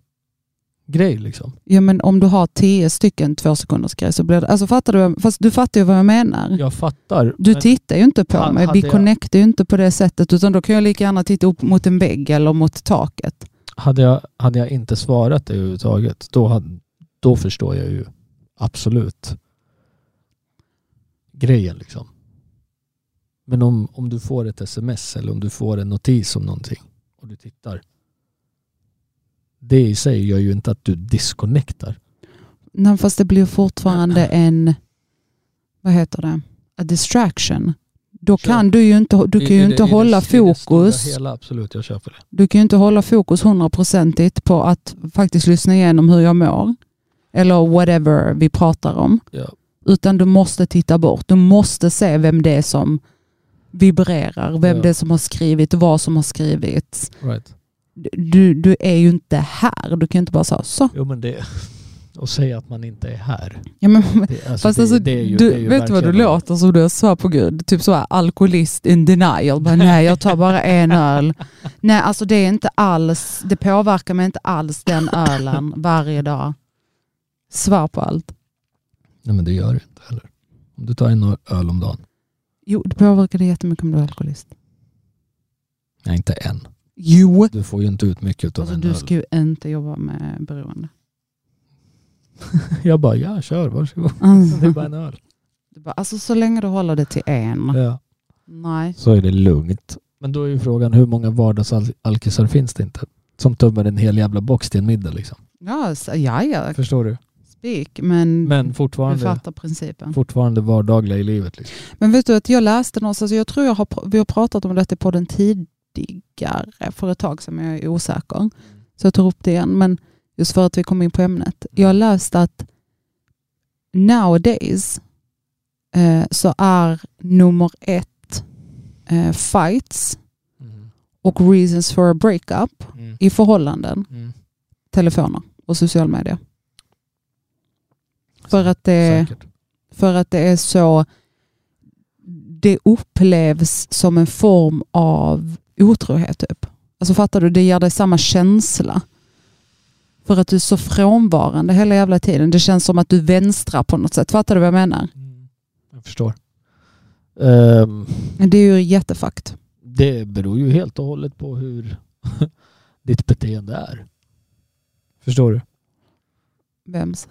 S2: grej liksom.
S1: Ja, men om du har tio stycken två sekunders grej så blir det... Alltså fattar du? Fast du fattar ju vad jag menar.
S2: Jag fattar.
S1: Du
S2: men-
S1: tittar ju inte på
S2: Ha-
S1: mig,
S2: hade
S1: vi
S2: jag-
S1: connectar ju inte på det sättet utan då kan jag lika gärna titta upp mot en vägg eller mot taket.
S2: hade, jag, hade jag inte svarat det överhuvudtaget, då, hade, då förstår jag ju absolut grejen liksom. Men om, om du får ett sms eller om du får en notis om någonting och du tittar. Det i sig gör ju inte att du disconnectar.
S1: Nej, fast det blir fortfarande en, vad heter det, a distraction. Då
S2: Sure.
S1: kan du ju inte, du kan ju inte hålla fokus.
S2: hela, absolut, jag köper det.
S1: Du kan ju inte hålla fokus hundraprocentigt på att faktiskt lyssna igenom hur jag mår. Eller whatever vi pratar om.
S2: Ja.
S1: Utan du måste titta bort. Du måste se vem det är som vibrerar, vem
S2: Ja.
S1: det är som har skrivit, vad som har skrivits.
S2: Right.
S1: Du, du är ju inte här. Du kan ju inte bara säga så.
S2: Jo men det, och säga att man inte är här.
S1: Ja, men,
S2: Det,
S1: Fast alltså,
S2: det är ju-
S1: du,
S2: det är ju
S1: vet du vad du
S2: verkligen-
S1: låter som du svär på gud? Typ så här alkoholist in denial. Bara, nej, jag tar bara en öl. nej, alltså det är inte alls, det påverkar mig inte alls den ölen varje dag. Svär på allt.
S2: Nej men det gör det inte heller. Om du tar en öl om dagen.
S1: Jo, det påverkar dig jättemycket om du är alkoholist.
S2: Nej inte en.
S1: Jo.
S2: Du får ju inte ut mycket utav
S1: Alltså,
S2: en
S1: du
S2: öl.
S1: ska ju inte jobba med beroende.
S2: Jag bara, ja kör, varsågod. Det är
S1: Alltså,
S2: bara en öl.
S1: du bara, alltså så länge du håller det till en.
S2: Ja.
S1: Nej.
S2: Så är det lugnt. Men då är ju frågan hur många vardagsalkisar finns det inte? Som tömmer en hel jävla box till en middag liksom.
S1: Ja, så- ja, ja.
S2: Förstår du?
S1: Spik, men,
S2: Men
S1: du
S2: fortfarande,
S1: Mm. fattar Mm. principen.
S2: fortfarande vardagliga i livet. Liksom.
S1: Men vet du att jag läste någonstans, alltså jag tror jag har, pr- vi har pratat om detta i podden tidigare för ett tag sedan, men jag är osäker. Så jag tar upp det igen, men just för att vi kom in på ämnet. Jag läste att nowadays eh, så är nummer ett eh, fights Mm. och reasons for a breakup
S2: Mm.
S1: i förhållanden, telefoner och social media. För att eh, det...
S2: Säkert.
S1: För att det är så, det upplevs som en form av otrohet typ. Alltså fattar du, det ger dig samma känsla. För att du är så frånvarande hela jävla tiden. Det känns som att du vänstrar på något sätt. Fattar du vad jag menar?
S2: Jag förstår. Ehm,
S1: Men Det är ju jättefakt.
S2: det beror ju helt och hållet på hur ditt beteende är. Förstår du?
S1: Vems?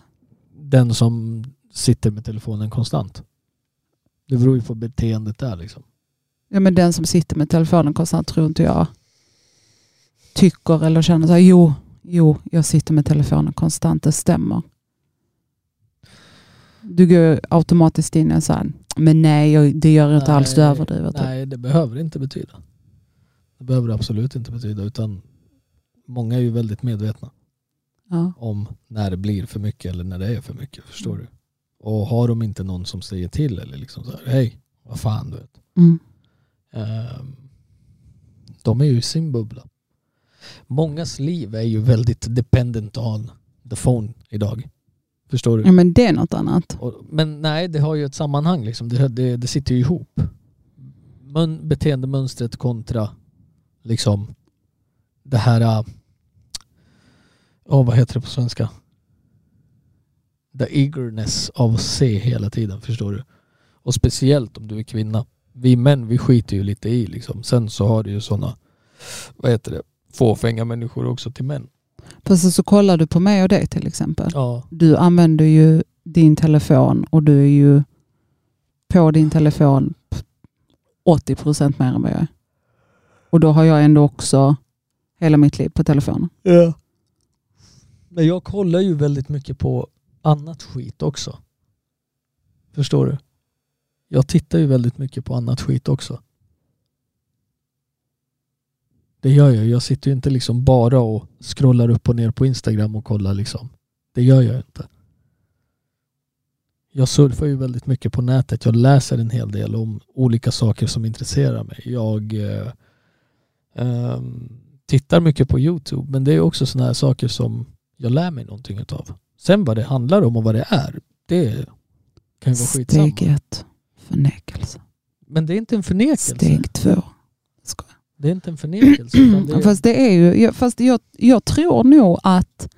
S2: den som sitter med telefonen konstant. Det beror ju på beteendet där liksom.
S1: Ja men den som sitter med telefonen konstant tror inte jag tycker eller känner så här, jo, jo, jag sitter med telefonen konstant, det stämmer. Du går ju automatiskt in i en sån, men nej, jag- det gör jag inte alls, du överdriver. typ.
S2: Nej, det behöver inte betyda. Det behöver det absolut inte betyda utan många är ju väldigt medvetna
S1: Ja.
S2: om när det blir för mycket eller när det är för mycket. Förstår du? Och har de inte någon som säger till eller liksom så här, hej, vad fan du vet.
S1: Mm.
S2: Ehm, de är ju i sin bubbla. Mångas liv är ju väldigt dependent on the phone idag. Förstår du?
S1: ja, men det är något annat.
S2: Och, men nej, det har ju ett sammanhang. Liksom. Det, det, det sitter ju ihop. Mön, beteendemönstret kontra liksom det här... äh, åh, vad heter det på svenska? The eagerness av att se hela tiden, förstår du? Och speciellt om du är kvinna. Vi män, vi skiter ju lite i liksom. Sen så har du ju sådana, vad heter det, fåfänga människor också till män.
S1: För så, så kollar du på mig och dig till exempel.
S2: Ja,
S1: Du använder ju din telefon och du är ju på din telefon 80% mer än vad jag är. Och då har jag ändå också hela mitt liv på telefonen.
S2: Ja. Men jag kollar ju väldigt mycket på annat skit också. Förstår du? Jag tittar ju väldigt mycket på annat skit också. Det Det gör jag. Jag sitter ju inte liksom bara och scrollar upp och ner på Instagram och kollar liksom. Det gör jag inte. Jag surfar ju väldigt mycket på nätet. Jag läser en hel del om olika saker som intresserar mig. Jag eh, ehm, tittar mycket på YouTube men det är också sådana här saker som jag lär mig någonting utav. Sen vad det handlar om och vad det är, det kan ju vara skitsamma.
S1: Steg ett, förnekelse.
S2: Men det är inte en förnekelse.
S1: Steg två. Ska.
S2: Det är inte en förnekelse. utan det är...
S1: Fast det är ju, jag- fast jag, jag tror nog att,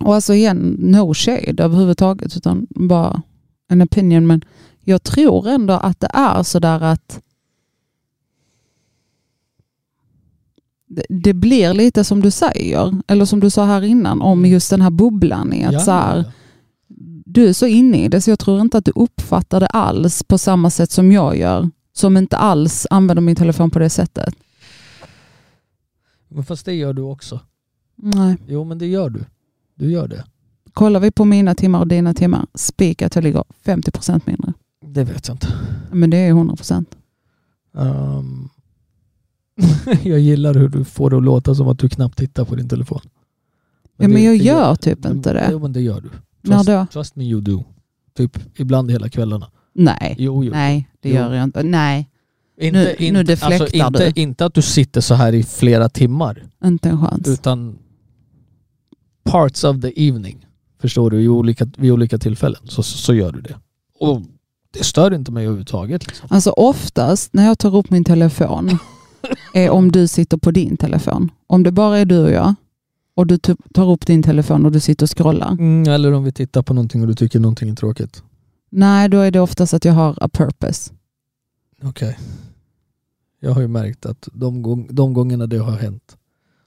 S1: och alltså igen, no shade överhuvudtaget, utan bara en opinion, men jag tror ändå att det är sådär att det, det blir lite som du säger, eller som du sa här innan, om just den här bubblan i att
S2: Mm. Ja,
S1: så här,
S2: ja.
S1: du är så inne i det så jag tror inte att du uppfattar det alls på samma sätt som jag gör. Som inte alls använder min telefon på det sättet.
S2: Men fast det gör du också.
S1: Nej.
S2: Jo men det gör du. Du gör det.
S1: Kollar vi på mina timmar och dina timmar, spik att jag ligger 50% mindre.
S2: Det vet jag inte.
S1: Men det är 100%.
S2: Ehm, jag gillar hur du får det att låta som att du knappt tittar på din telefon.
S1: Ja, men
S2: det-
S1: jag
S2: det
S1: gör typ
S2: men-
S1: inte det.
S2: Jo men det gör du.
S1: När då?
S2: trust me you do. Typ ibland hela kvällarna.
S1: Nej,
S2: Jo, jo.
S1: nej det
S2: Jo.
S1: gör jag inte. Nej,
S2: Inte,
S1: Nu- nu deflektar
S2: alltså, inte, inte att du sitter så här i flera timmar.
S1: inte en chans.
S2: Utan parts of the evening. Förstår du? I olika, vid olika tillfällen så, så, så gör du det. Och det stör inte mig överhuvudtaget. Liksom.
S1: Alltså oftast när jag tar upp min telefon är om du sitter på din telefon. Om det bara är du och jag och du t- tar upp din telefon och du sitter och scrollar.
S2: Mm, eller om vi tittar på någonting och du tycker någonting är tråkigt.
S1: Nej, då är det oftast att jag har a purpose.
S2: Okej. Jag har ju märkt att de, gång, de gångerna det har hänt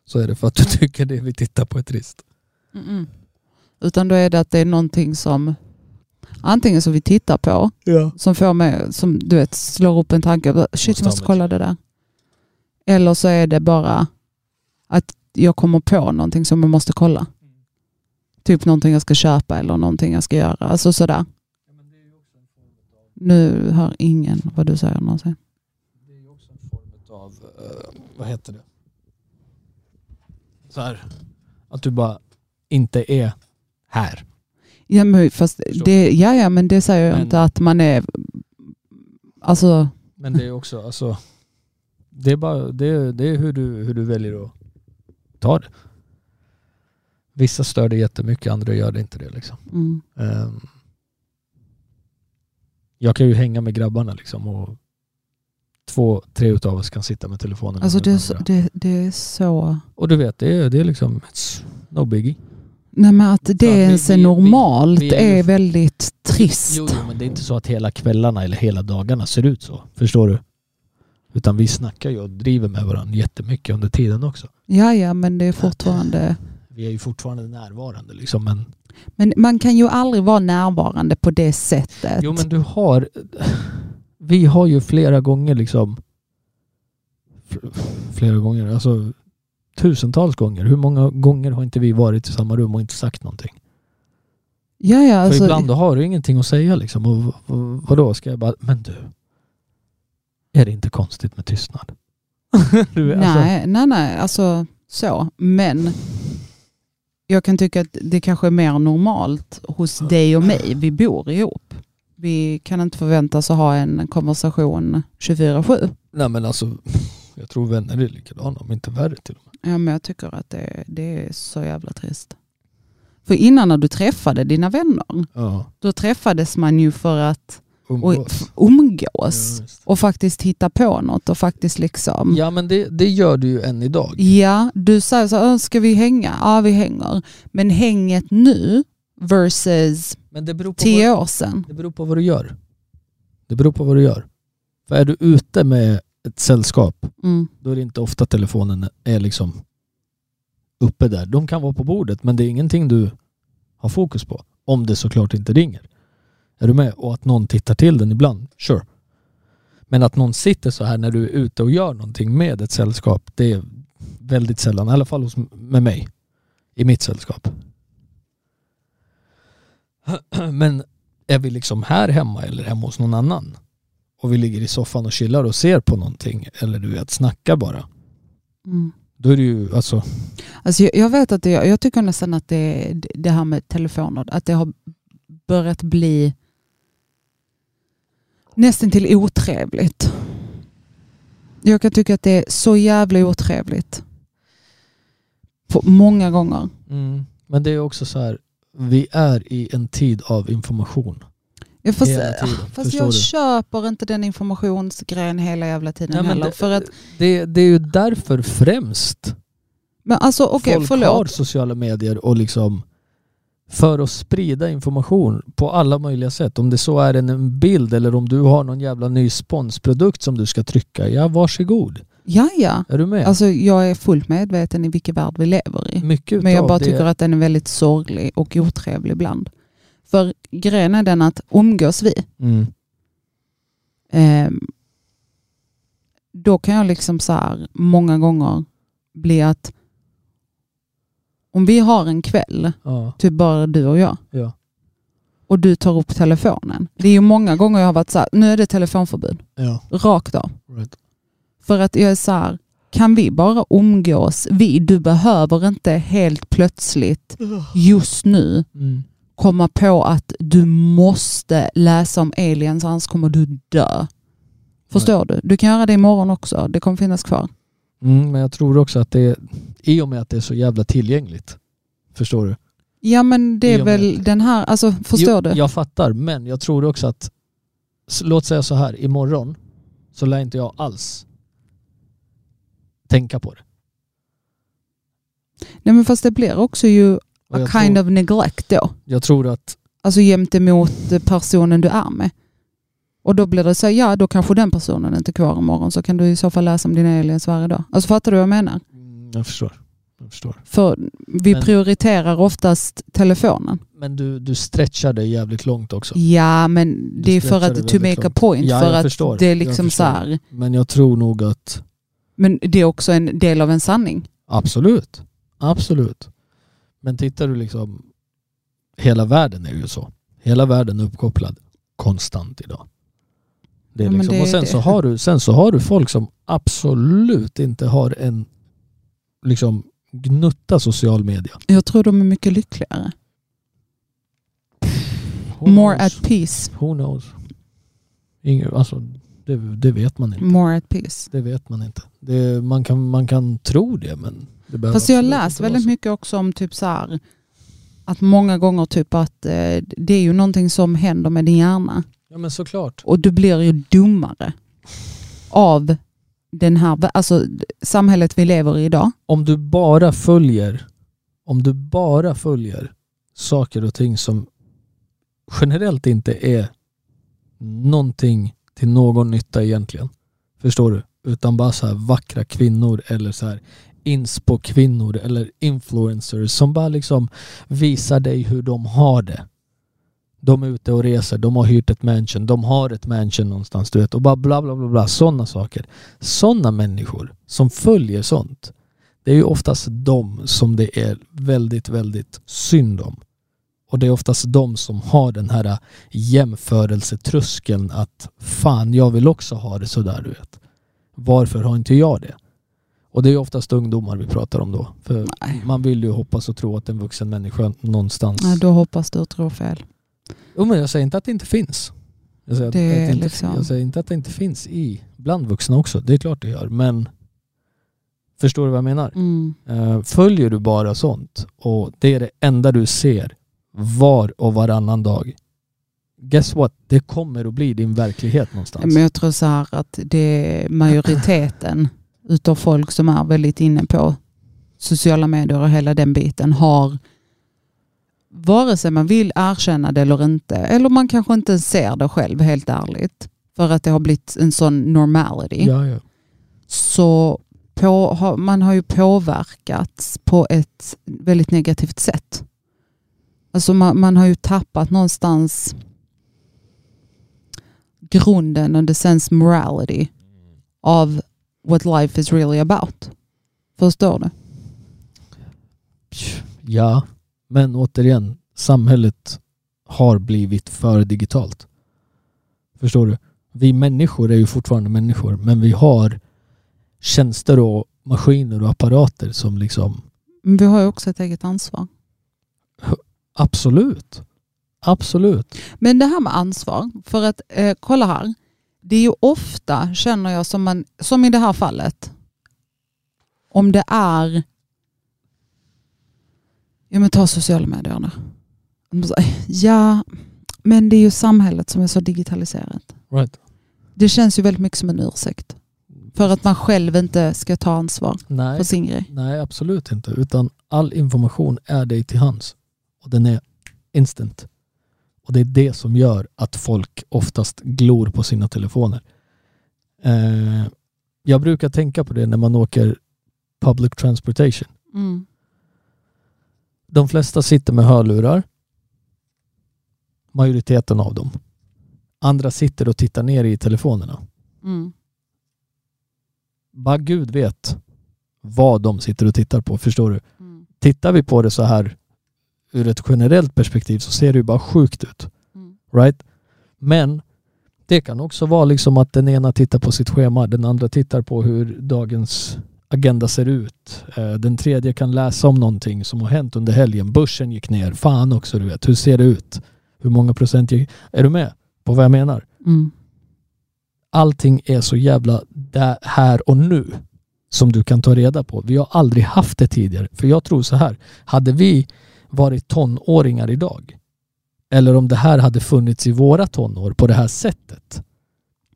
S2: så är det för att du tycker det vi tittar på är trist.
S1: Utan då är det att det är någonting som antingen som vi tittar på,
S2: Ja.
S1: som får mig, som du vet, slår upp en tanke. bara, Shit, jag måste kolla det där. Eller så är det bara att jag kommer på någonting som jag måste kolla. Typ någonting jag ska köpa eller någonting jag ska göra. Alltså sådär. Nu hör ingen vad du säger någonsin.
S2: Det är ju också en form av, eh, vad heter det? Så här. Att du bara inte är här.
S1: Ja, men fast
S2: Förstår.
S1: det, ja, ja, men det säger jag
S2: Men-
S1: inte att man är... Alltså,
S2: Men det är också, alltså, det är, bara, det är, det är hur, du, hur du väljer att ta det. Vissa stör det jättemycket, andra gör det inte det. Liksom.
S1: mm,
S2: Ehm, jag kan ju hänga med grabbarna liksom och två, tre utav oss kan sitta med telefonen.
S1: alltså
S2: med
S1: det, är så,
S2: varandra.
S1: det, det är så...
S2: Och du vet, det är, det är liksom it's no biggie.
S1: Nej, men att det
S2: att vi-
S1: ens är
S2: vi- vi-
S1: normalt
S2: vi är ju-
S1: är, väldigt trist.
S2: Jo, jo, men det är inte så att hela kvällarna eller hela dagarna ser ut så. Förstår du? Utan vi snackar ju och driver med varandra jättemycket under tiden också.
S1: Ja, ja, men det är
S2: eh,
S1: fortfarande...
S2: Vi är ju fortfarande närvarande liksom. Men,
S1: Men man kan ju aldrig vara närvarande på det sättet.
S2: jo men du har... Vi har ju flera gånger liksom... f- Flera gånger, alltså tusentals gånger. Hur många gånger har inte vi varit i samma rum och inte sagt någonting?
S1: ja, ja, alltså,
S2: För ibland har du ingenting att säga liksom. Och, v- v- vadå, ska jag bara... Men du. Är det inte konstigt med tystnad? du, alltså-
S1: nej, nej, nej, alltså så. Men jag kan tycka att det kanske är mer normalt hos dig och mig. Vi bor ihop. Vi kan inte förväntas att ha en konversation 24-7.
S2: Nej men alltså, jag tror vänner är likadana, om inte värre till och med.
S1: Ja, men jag tycker att det, det är så jävla trist. För innan när du träffade dina vänner,
S2: Ja,
S1: då träffades man ju för att
S2: umgås.
S1: umgås
S2: Ja, visst.
S1: och faktiskt hitta på något och faktiskt liksom... Ja,
S2: Ja men det, det gör du ju än idag.
S1: du säger så här, "Äh, ska vi hänga? Ja, vi hänger. Men hänget nu versus
S2: Men det beror, på vad,
S1: tio år sedan.
S2: det beror på vad du gör. Det beror på vad du gör. För är du ute med ett sällskap,
S1: Mm.
S2: då är det inte ofta telefonen är liksom uppe där. De kan vara på bordet, men det är ingenting du har fokus på. Om det såklart inte ringer. Är du med? Och att någon tittar till den ibland, sure. Men att någon sitter så här när du är ute och gör någonting med ett sällskap, det är väldigt sällan, i alla fall hos, med mig, i mitt sällskap. Men är vi liksom här hemma eller hemma hos någon annan och vi ligger i soffan och chillar och ser på någonting eller du vet, snackar bara,
S1: Mm.
S2: Då är det ju alltså,
S1: Alltså jag, jag vet att det, jag tycker nästan att det, det här med telefoner, att det har börjat bli nästan till otrevligt. Jag kan tycka att det är så jävla otrevligt. På många gånger.
S2: Mm. men det är också så här, vi är i en tid av information.
S1: Jag fast, ah,
S2: Hela tiden,
S1: fast
S2: förstår
S1: jag
S2: du?
S1: köper inte den informationsgrejen hela jävla tiden
S2: Nej, men
S1: heller.
S2: det-
S1: för att,
S2: Det, det är ju därför främst
S1: men alltså okej,
S2: folk har
S1: förlåt.
S2: sociala medier och liksom för att sprida information på alla möjliga sätt. Om det så är en- en bild eller om du har någon jävla ny sponsprodukt som du ska trycka. Ja, varsågod.
S1: Ja, ja.
S2: Är du med?
S1: Alltså jag är fullt medveten i vilken värld vi lever i.
S2: Mycket utav
S1: Men jag bara
S2: Mm, det,
S1: tycker att den är väldigt sorglig och otrevlig ibland. För grejen är den att umgås vi,
S2: Mm.
S1: ehm, då kan jag liksom så här många gånger bli att om vi har en kväll,
S2: Ja,
S1: typ bara du och jag,
S2: ja,
S1: och du tar upp telefonen. Det är ju många gånger jag har varit så här, nu är det telefonförbud,
S2: ja.
S1: rakt av.
S2: Right.
S1: För att jag är så här, kan vi bara umgås vi? Du behöver inte helt plötsligt just nu
S2: Mm.
S1: komma på att du måste läsa om aliens annars kommer du dö. Förstår du? Du kan göra det imorgon också. Det kommer finnas kvar.
S2: Mm, men jag tror också att det, i och med att det är så jävla tillgängligt, förstår du?
S1: Ja men det
S2: I
S1: är
S2: och med
S1: väl den här, alltså förstår
S2: Jo,
S1: du?
S2: Jag fattar, men jag tror också att, s- låt säga så här, imorgon så lär inte jag alls tänka på det.
S1: Nej men fast det blir också ju
S2: Och
S1: a
S2: jag,
S1: kind
S2: tror,
S1: of neglect då.
S2: jag tror att,
S1: Alltså gentemot eh, personen du är med. Och då blir det så, här, ja då kanske den personen inte är kvar imorgon så kan du i så fall läsa om dina aliens varje dag. Alltså fattar du vad jag menar?
S2: Mm, jag förstår. Jag förstår.
S1: För vi
S2: Men-
S1: prioriterar oftast telefonen.
S2: Men du, du stretchar dig jävligt långt också.
S1: Ja, men det är för
S2: stretchar det
S1: att to
S2: väldigt
S1: make a
S2: långt.
S1: point.
S2: Ja,
S1: för
S2: jag
S1: att
S2: förstår.
S1: det är
S2: Jag
S1: liksom så
S2: förstår.
S1: här.
S2: Men jag tror nog att,
S1: Men det är också en del av en sanning.
S2: absolut, absolut. Men tittar du liksom, hela världen är ju så. Hela världen är uppkopplad konstant idag. Det är
S1: Ja, men
S2: liksom,
S1: det
S2: och
S1: är
S2: sen
S1: det.
S2: så, har du, sen så har du folk som absolut inte har en liksom gnutta social media.
S1: Jag tror de är mycket lyckligare.
S2: Who
S1: More
S2: knows?
S1: at peace.
S2: Who knows? Ingen, alltså, det, det vet man inte.
S1: More at peace.
S2: Det vet man inte. Det, man, kan, man kan tro det men det behöver
S1: Fast jag
S2: absolut
S1: läser
S2: inte vara
S1: väldigt
S2: så.
S1: mycket också om typ så här att många gånger typ att eh, det är ju någonting som händer med din hjärna
S2: Ja men såklart.
S1: och du blir ju dummare av den här, vä- alltså d- samhället vi lever i idag.
S2: Om du bara följer, om du bara följer saker och ting som generellt inte är någonting till någon nytta egentligen. Förstår du? Utan bara så här vackra kvinnor eller så här inspo-kvinnor eller influencers som bara liksom visar dig hur de har det. De är ute och reser, de har hyrt ett mansion, de har ett mansion någonstans, du vet. Och bara bla bla bla bla, sådana saker. Sådana människor som följer sånt, det är ju oftast de som det är väldigt, väldigt synd om. Och det är oftast de som har den här jämförelsetröskeln att fan, jag vill också ha det sådär, du vet. Varför har inte jag det? Och det är ju oftast ungdomar vi pratar om då. För
S1: Nej.
S2: man vill ju hoppas och tro att en vuxen människa någonstans
S1: Ja, då hoppas du tror fel.
S2: Jo men jag säger inte att det inte finns. Jag säger, att-
S1: Det
S2: att
S1: är
S2: det inte,
S1: liksom-
S2: jag säger inte att det inte finns i, bland vuxna också. Det är klart det gör. Men förstår du vad jag menar?
S1: Mm.
S2: Eh, Följer du bara sånt och det är det enda du ser var och varannan dag. Guess what? Det kommer att bli din verklighet någonstans.
S1: Men jag tror så här att det är majoriteten utav folk som är väldigt inne på sociala medier och hela den biten har vare sig man vill erkänna det eller inte, eller man kanske inte ser det själv helt ärligt, för att det har blivit en sån normality,
S2: Ja, ja.
S1: så på, har- man har ju påverkats på ett väldigt negativt sätt. Alltså man, man har ju tappat någonstans grunden och the sense morality av what life is really about. Förstår du?
S2: ja. Men återigen, samhället har blivit för digitalt. Förstår du? Vi människor är ju fortfarande människor men vi har tjänster och maskiner och apparater som liksom
S1: Men vi har ju också ett eget ansvar.
S2: absolut, absolut.
S1: Men det här med ansvar, för att eh, kolla här. Det är ju ofta, känner jag, som, man, som i det här fallet. Om det är... Ja men ta sociala medier nu. De säger, Ja, men det är ju samhället som är så digitaliserat.
S2: Right.
S1: Det känns ju väldigt mycket som en ursäkt. För att man själv inte ska ta ansvar
S2: Nej,
S1: för sin grej.
S2: nej, absolut inte. Utan all information är dig till hands och den är instant. Och det är det som gör att folk oftast glor på sina telefoner. Eh, jag brukar tänka på det när man åker public transportation.
S1: Mm.
S2: De flesta sitter med hörlurar. Majoriteten av dem. Andra sitter och tittar ner i telefonerna.
S1: Mm.
S2: Bara gud vet vad de sitter och tittar på, förstår du?
S1: Mm.
S2: Tittar vi på det så här ur ett generellt perspektiv så ser det ju bara sjukt ut.
S1: Mm.
S2: Right? Men det kan också vara liksom att den ena tittar på sitt schema, den andra tittar på hur dagens agenda ser ut. Eh, Den tredje kan läsa om någonting som har hänt under helgen. Börsen gick ner. Fan också du vet. Hur ser det ut? Hur många procent gick... Är du med på vad jag menar?
S1: Mm.
S2: Allting är så jävla där, här och nu som du kan ta reda på. Vi har aldrig haft det tidigare. För jag tror så här. Hade vi varit tonåringar idag eller om det här hade funnits i våra tonår på det här sättet.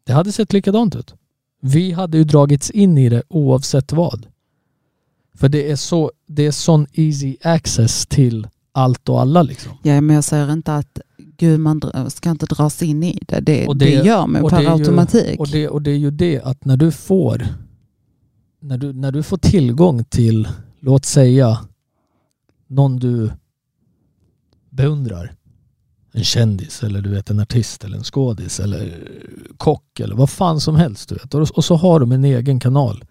S2: Det hade sett likadant ut. Vi hade ju dragits in i det oavsett vad. För det är så, det är sån easy access till allt och alla liksom.
S1: Ja, men jag säger inte att gud, man dr- ska inte dras in i det. Det,
S2: Och
S1: det,
S2: det-
S1: gör man
S2: och det
S1: per
S2: är ju-
S1: automatik.
S2: Och det, och det är ju det att när du får när du, när du får tillgång till, låt säga, någon du beundrar. En kändis eller du vet en artist eller en skådis eller kock eller vad fan som helst. Du vet. Och, och så har de en egen kanal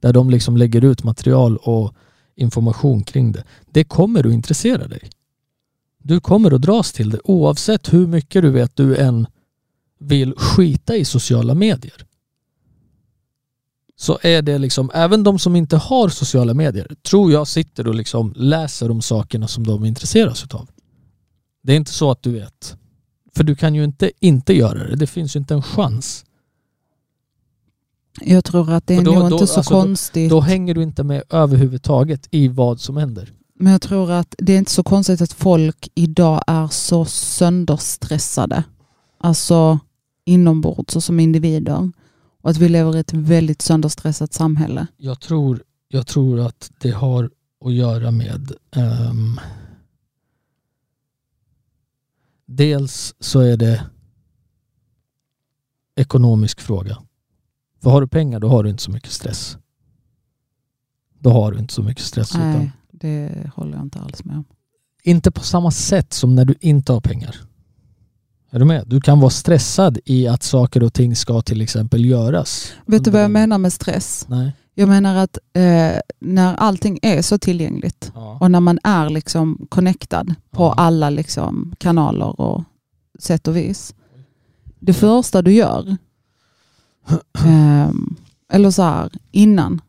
S2: där de liksom lägger ut material och information kring det. Det kommer att intressera dig. Du kommer att dras till det oavsett hur mycket du vet du än vill skita i sociala medier så är det liksom, även de som inte har sociala medier tror jag sitter och liksom läser om sakerna som de intresseras utav. Det är inte så att du vet. För du kan ju inte inte göra det. Det finns ju inte en chans.
S1: Jag tror att det är
S2: Och då-
S1: nog
S2: då-
S1: inte så
S2: alltså då-
S1: konstigt.
S2: Då hänger du inte med överhuvudtaget i vad som händer.
S1: men jag tror att det är inte så konstigt att folk idag är så sönderstressade. Alltså inombords och som individer. Och att vi lever i ett väldigt sönderstressat samhälle.
S2: Jag tror, jag tror att det har att göra med ehm, dels så är det ekonomisk fråga. För har du pengar då har du inte så mycket stress. Då har du inte så mycket stress. Utan
S1: Nej, det håller jag inte alls med om.
S2: inte på samma sätt som när du inte har pengar. Är du med? Du kan vara stressad i att saker och ting ska till exempel göras.
S1: Vet du vad jag
S2: Under-
S1: menar med stress?
S2: Nej.
S1: Jag menar att eh, när allting är så tillgängligt
S2: Ja.
S1: Och när man är liksom connectad på
S2: Ja.
S1: alla liksom kanaler och sätt och vis. Det första du gör, ehm, eller så här, innan,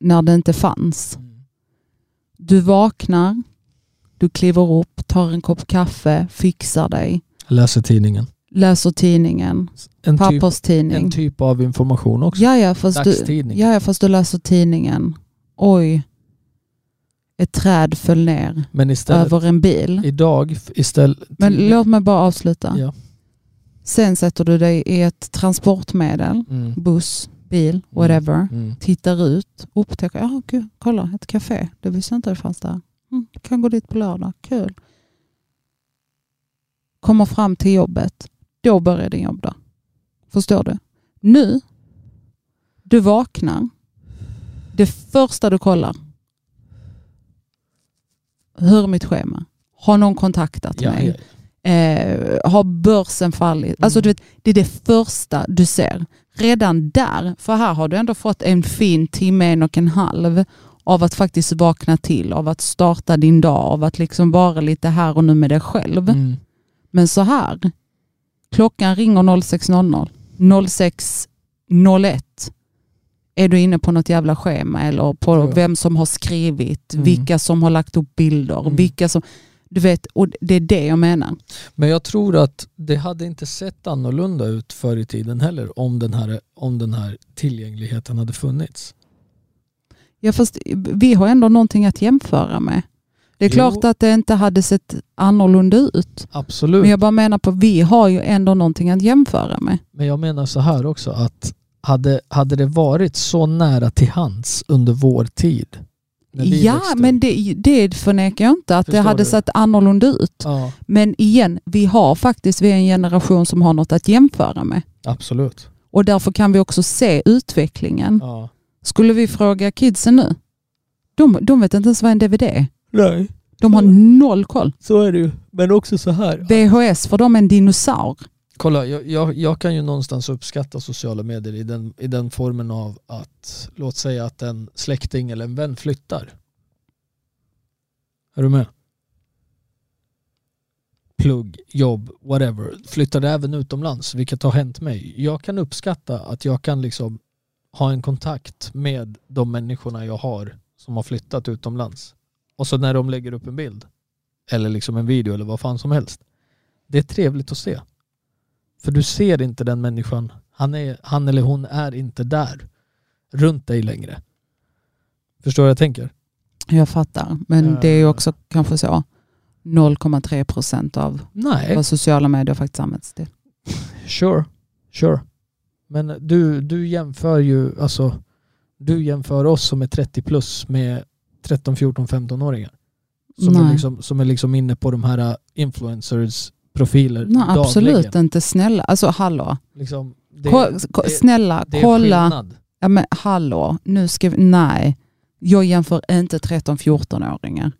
S1: när det inte fanns.
S2: Mm.
S1: Du vaknar, du kliver upp, tar en kopp kaffe, fixar dig,
S2: Läser tidningen.
S1: läser tidningen,
S2: En typ
S1: papperstidning.
S2: en typ av information också.
S1: Ja, ja, fast du,
S2: Dagstidning.
S1: ja, ja, fast du läser tidningen. Oj, ett träd föll ner
S2: Men istället,
S1: över en bil.
S2: idag f- istället...
S1: Men låt mig bara avsluta.
S2: Ja.
S1: Sen sätter du dig i ett transportmedel,
S2: Mm.
S1: buss, bil, whatever.
S2: Mm.
S1: Tittar ut, upptäcker, ja gud, kolla ett café, det visste jag inte det fanns där. Mm, kan gå dit på lördag, kul. Kommer fram till jobbet, då börjar din jobb då. Förstår du? Nu, du vaknar, det första du kollar, hur är mitt schema? Har någon kontaktat
S2: Ja,
S1: mig?
S2: ja.
S1: Eh, har börsen fallit? Alltså,
S2: Mm.
S1: du vet, det är det första du ser. Redan där, för här har du ändå fått en fin timme, en och en halv av att faktiskt vakna till, av att starta din dag, av att liksom vara lite här och nu med dig själv.
S2: Mm.
S1: Men så här, klockan ringer 06.00, 06.01, är du inne på något jävla schema eller på
S2: Ja.
S1: vem som har skrivit,
S2: Mm.
S1: vilka som har lagt upp bilder,
S2: Mm.
S1: vilka som... Du vet, och det är det jag menar.
S2: Men jag tror att det hade inte sett annorlunda ut förr i tiden heller om den här, om den här tillgängligheten hade funnits.
S1: Ja, fast vi har ändå någonting att jämföra med. Det är
S2: Jo.
S1: klart att det inte hade sett annorlunda ut.
S2: Absolut.
S1: Men jag bara menar på, vi har ju ändå någonting att jämföra med.
S2: Men jag menar så här också att hade, hade det varit så nära till hands under vår tid. när vi
S1: Ja,
S2: växte upp-
S1: men det, det förnekar jag inte att det
S2: Förstår
S1: hade
S2: du?
S1: sett annorlunda ut.
S2: Ja,
S1: Men igen, vi har faktiskt, vi är en generation som har något att jämföra med.
S2: absolut.
S1: Och därför kan vi också se utvecklingen.
S2: Ja.
S1: Skulle vi fråga kidsen nu, de, de vet inte ens vad en DVD är.
S2: Nej,
S1: De har noll koll.
S2: så är det ju. Men också så här.
S1: VHS för dem är en dinosaur.
S2: Kolla, jag, jag, jag kan ju någonstans uppskatta sociala medier i den, i den formen av att, låt säga att en släkting eller en vän flyttar. Är du med? Plugg, jobb, whatever. Flyttade även utomlands, vilket har hänt mig. Jag kan uppskatta att jag kan liksom ha en kontakt med de människorna jag har som har flyttat utomlands. Och så när de lägger upp en bild, eller liksom en video eller vad fan som helst. Det är trevligt att se. För du ser inte den människan. Han, är, han eller hon är inte där runt dig längre. Förstår vad jag tänker?
S1: Jag fattar, men
S2: Ja.
S1: det är ju också kanske så 0,3 procent av
S2: Nej,
S1: vad sociala medier faktiskt används till.
S2: sure. sure. Men du, du jämför ju, alltså, du jämför oss som är 30 plus med 13, 14, 15-åringar. Som, är
S1: Nej.
S2: liksom, som är liksom inne på de här influencers profiler
S1: Nej, absolut inte. Snälla, alltså hallå.
S2: Liksom, det,
S1: Ko- ko-
S2: det-
S1: snälla,
S2: det är
S1: kolla.
S2: skillnad.
S1: Ja men hallå, nu ska vi, nej. Jag jämför inte 13-14-åringar.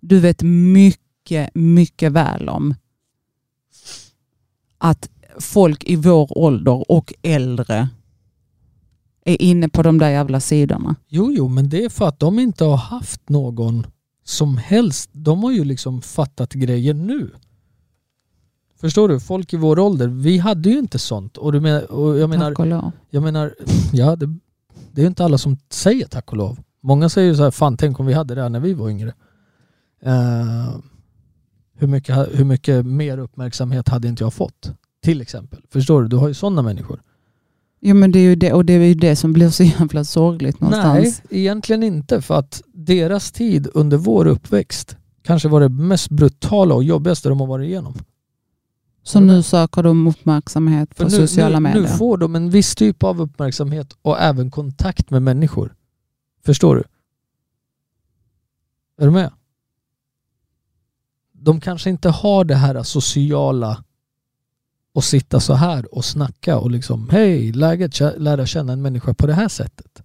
S1: Du vet mycket, mycket väl om att folk i vår ålder och äldre är inne på de där jävla sidorna.
S2: Jo, jo, men det är för att de inte har haft någon som helst. De har ju liksom fattat grejer nu. Förstår du? Folk i vår ålder, vi hade ju inte sånt. Och, du men, och jag menar,
S1: Tack och lov.
S2: jag menar, ja det, det är ju inte alla som säger tack och lov. Många säger ju så här, fan tänk om vi hade det här när vi var yngre. Eh, hur, mycket, ha- hur mycket mer uppmärksamhet hade inte jag fått? Till exempel. Förstår du? Du har ju sådana människor.
S1: Ja men det är ju det, och det är ju det som blir så jävla sorgligt någonstans.
S2: Nej, egentligen inte för att deras tid under vår uppväxt kanske var det mest brutala och jobbigaste de har varit igenom.
S1: Så nu söker de uppmärksamhet på
S2: För nu,
S1: sociala
S2: nu,
S1: medier.
S2: nu får de en viss typ av uppmärksamhet och även kontakt med människor. Förstår du? Är du med? De kanske inte har det här sociala och sitta så här och snacka och liksom hej, läget, kä- lära känna en människa på det här sättet.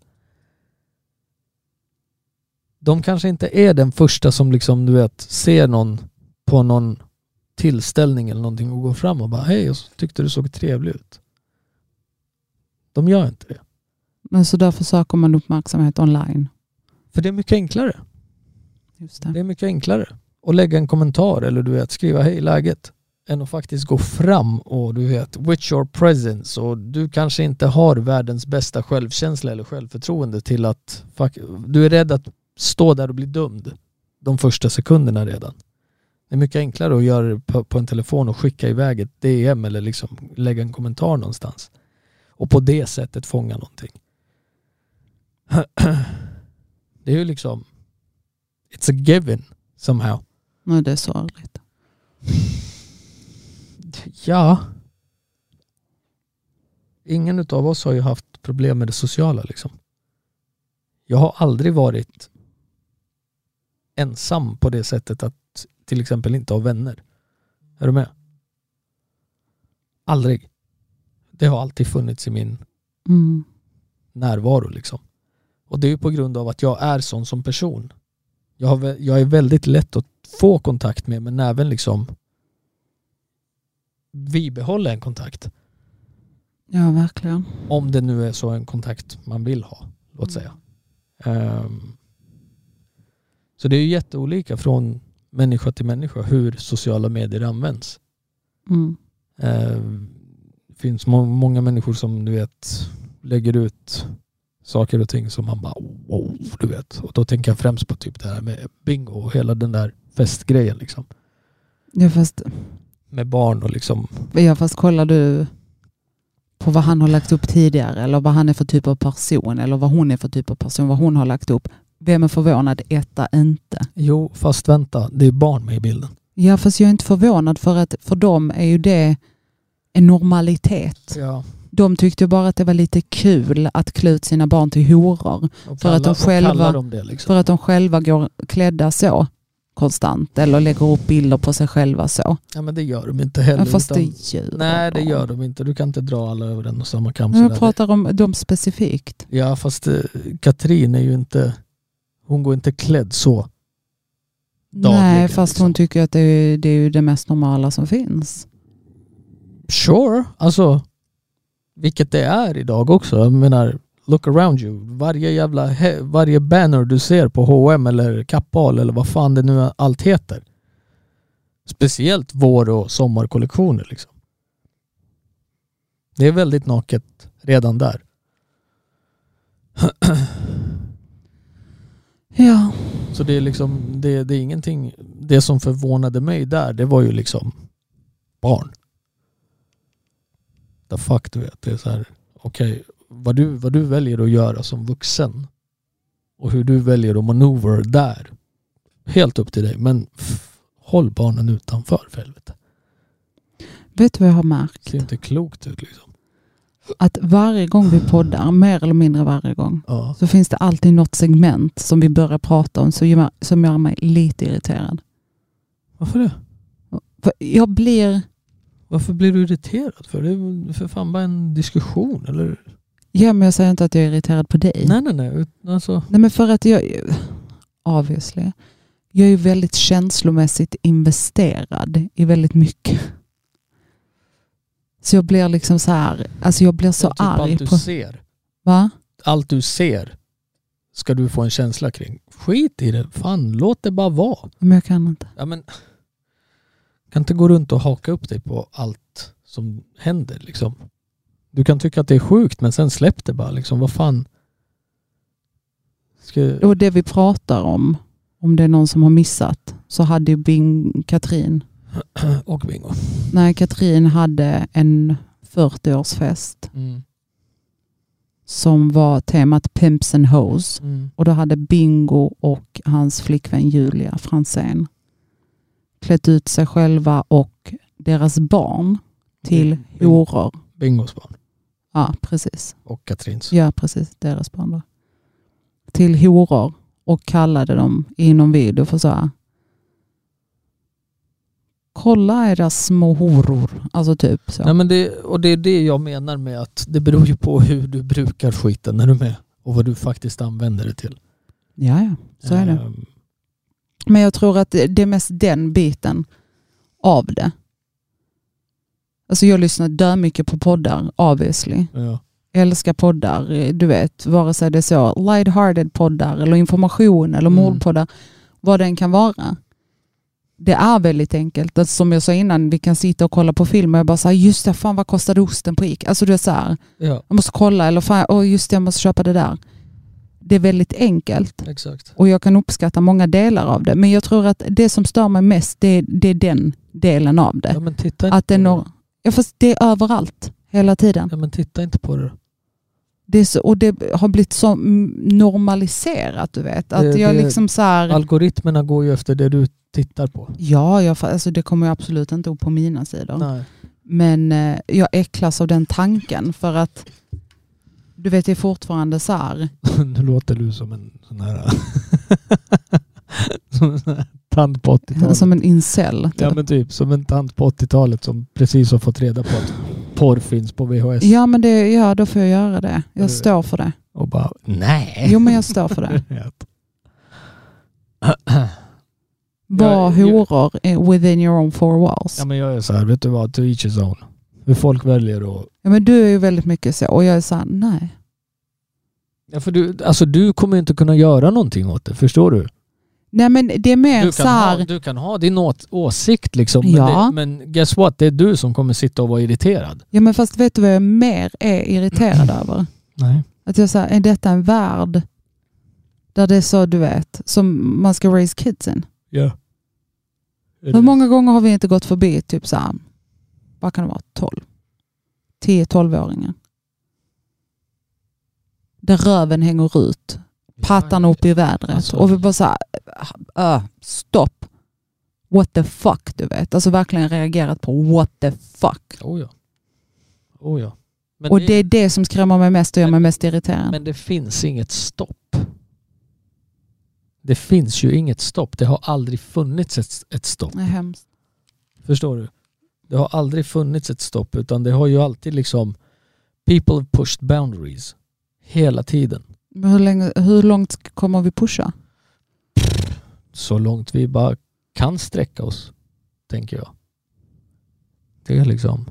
S2: De kanske inte är den första som liksom du vet ser någon på någon tillställning eller någonting och går fram och bara hej, jag tyckte du såg trevlig ut. De gör inte det.
S1: Men så därför söker man uppmärksamhet online.
S2: För det är mycket enklare.
S1: Just
S2: Det är mycket enklare att lägga en kommentar eller du vet skriva hej läget än att faktiskt gå fram och du vet with your presence och du kanske inte har världens bästa självkänsla eller självförtroende till att fuck, du är rädd att stå där och bli dömd de första sekunderna redan. Det är mycket enklare att göra det på, på en telefon och skicka iväg ett DM eller liksom lägga en kommentar någonstans och på det sättet fånga någonting. Det är ju liksom It's a given somehow.
S1: Nu är det sorgligt.
S2: Ja. Ingen utav oss har ju haft problem med det sociala liksom. Jag har aldrig varit ensam på det sättet att till exempel inte ha vänner. Är du med? Aldrig. Det har alltid funnits i min
S1: Mm.
S2: närvaro liksom. Och det är ju på grund av att jag är sån som person. Jag, har, vä- jag är väldigt lätt att få kontakt med men även liksom bibehålla en kontakt.
S1: Ja, verkligen.
S2: Om det nu är så en kontakt man vill ha, låt säga. Ehm, så det är ju jätteolika från människa till människa hur sociala medier används.
S1: Mm.
S2: Eh, Det finns må- många människor som du vet lägger ut saker och ting som man bara wow, du vet. Och då tänker jag främst på typ det här med bingo och hela den där festgrejen liksom.
S1: Ja fast,
S2: Med barn och liksom,
S1: ja, fast kollar du på vad han har lagt upp tidigare eller vad han är för typ av person eller vad hon är för typ av person, vad hon har lagt upp. Vem är förvånad? Etta inte.
S2: jo fast vänta, det är barn med i bilden.
S1: Ja fast jag är inte förvånad för att för dem är ju det en normalitet.
S2: Ja.
S1: De tyckte bara att det var lite kul att klä ut sina barn till horor.
S2: Och
S1: För att de
S2: kallar- och
S1: själva-
S2: kallar de det liksom.
S1: För att de själva går klädda så konstant eller lägger upp bilder på sig själva så.
S2: Ja men det gör de inte heller.
S1: Men fast det
S2: utan,
S1: gör
S2: nej det
S1: de.
S2: gör de inte. Du kan inte dra alla över en och samma kam.
S1: Men jag
S2: sådär.
S1: pratar om dem specifikt.
S2: Ja fast eh, Katrin är ju inte, hon går inte klädd så. Dagligen,
S1: Nej, fast
S2: liksom.
S1: hon tycker att det är, det är ju det mest normala som finns.
S2: Sure, alltså vilket det är idag också. Jag menar, look around you. Varje jävla, he- varje banner du ser på H&M eller Kappahl eller vad fan det nu är- allt heter. Speciellt vår och sommarkollektioner liksom. Det är väldigt naket redan där.
S1: Ja,
S2: Så det är liksom, det, det är ingenting. Det som förvånade mig där, det var ju liksom barn. The fuck du vet, det är så här, okej, vad, du, vad du väljer att göra som vuxen och hur du väljer att manöver där, helt upp till dig. Men f- håll barnen utanför för helvete.
S1: vet du vad jag har
S2: Det
S1: märkt?
S2: ser inte klokt ut liksom.
S1: Att varje gång vi poddar, mer eller mindre varje gång,
S2: Ja,
S1: så finns det alltid något segment som vi börjar prata om som gör- som gör mig lite irriterad.
S2: varför det?
S1: För jag blir,
S2: Varför blir du irriterad för? Det är väl för fan bara en diskussion eller?
S1: ja men jag säger inte att jag är irriterad på dig.
S2: Nej nej nej, ut- alltså.
S1: Nej men för att jag, obviously, jag är ju väldigt känslomässigt investerad i väldigt mycket. Så jag blir liksom så här, alltså jag blir så
S2: typ
S1: arg
S2: allt du
S1: på,
S2: ser.
S1: va?
S2: allt du ser ska du få en känsla kring. Skit i det, fan låt det bara vara.
S1: Men jag kan inte.
S2: Ja, men, kan inte gå runt och haka upp dig på allt som händer liksom. Du kan tycka att det är sjukt men sen släpp det bara liksom, vad fan. Ska,
S1: Och det vi pratar om, om det är någon som har missat, så hade ju Bing, Katrin,
S2: och bingo.
S1: nej Katrin hade en 40-årsfest
S2: Mm.
S1: som var temat Pimps and Hoes.
S2: Mm.
S1: Och då hade Bingo och hans flickvän Julia Fransén klätt ut sig själva och deras barn till
S2: Bingo.
S1: horor.
S2: Bingos barn
S1: Ja, precis.
S2: och Katrins.
S1: Ja, precis. Deras barn då. Till horor och kallade dem i någon video för så här. Kolla era små horor. Alltså typ så.
S2: Nej, men det, och det är det jag menar med att det beror ju på hur du brukar skiten när du är med och vad du faktiskt använder det till.
S1: Ja, ja. Så är det.
S2: Ehm,
S1: Men jag tror att det det är mest den biten av det. Alltså jag lyssnar dö mycket på poddar, obviously.
S2: ja.
S1: Jag älskar poddar, eh, du vet, vare sig det är så lighthearted poddar eller information eller
S2: Mm.
S1: mordpoddar, vad den kan vara. Det är väldigt enkelt. Alltså som jag sa innan, vi kan sitta och kolla på film och jag bara säger just det, fan vad kostade osten på Ica? Alltså du är så här,
S2: ja,
S1: jag måste kolla eller fan, åh just det, jag måste köpa det där. Det är väldigt enkelt.
S2: exakt.
S1: Och jag kan uppskatta många delar av det. Men jag tror att det som stör mig mest, det, det är den delen av det.
S2: Ja, men titta inte
S1: Att det,
S2: på
S1: når, ja, fast det är överallt, hela tiden.
S2: Ja men titta inte på det.
S1: Det är så, och det har blivit så mm, normaliserat, du vet. Att
S2: Det-
S1: jag
S2: det-
S1: liksom så här,
S2: Algoritmerna går ju efter det du tittar på.
S1: ja, jag, fa- alltså det kommer ju absolut inte upp på mina sidor.
S2: Nej.
S1: Men eh, jag äcklas av den tanken för att du vet, det är fortfarande så här.
S2: nu låter du som en sån här, som en sån här tant på 80-talet.
S1: Som en incel. Typ.
S2: Ja men typ som en tant på 80-talet som precis har fått reda på att porr finns på VHS.
S1: Ja, men det, ja, då får jag göra det.
S2: Ja,
S1: Jag
S2: det-
S1: står för det.
S2: Och bara nej.
S1: Jo, men jag står för det. Var
S2: Jag- jag-
S1: horor eh, within your own four walls.
S2: ja men jag är så här, vet du vad, to each his own. Hur folk väljer att...
S1: Ja, men du är ju väldigt mycket så och jag är såhär, nej.
S2: Ja, för du, alltså du kommer ju inte kunna göra någonting åt det, förstår du?
S1: Nej men det är mer
S2: Du kan, ha,
S1: såhär,
S2: du kan ha din å- åsikt liksom. Men,
S1: Ja.
S2: det, men guess what? Det är du som kommer sitta och vara irriterad.
S1: ja men fast vet du vad jag mer är irriterad över?
S2: Nej.
S1: Att jag säger, är detta en värld där det är så, du vet, som man ska raise kidsen?
S2: Ja.
S1: Hur många gånger har vi inte gått förbi typ så här, vad kan det vara, 12? 10-12-åringar. Där röven hänger ut, pattarna upp i vädret
S2: Alltså-
S1: och vi bara såhär, äh, stopp. What the fuck, du vet. Alltså verkligen reagerat på what the fuck.
S2: Oh ja. Oh ja. Men,
S1: och
S2: det,
S1: det är det som skrämmer mig mest och gör mig mest irriterad.
S2: men det finns inget stopp. Det finns ju inget stopp. Det har aldrig funnits ett, ett stopp.
S1: Det är hemskt.
S2: Förstår du? Det har aldrig funnits ett stopp utan det har ju alltid liksom people have pushed boundaries hela tiden.
S1: Men hur, länge, hur långt kommer vi pusha?
S2: Så långt vi bara kan sträcka oss, tänker jag. Det är liksom...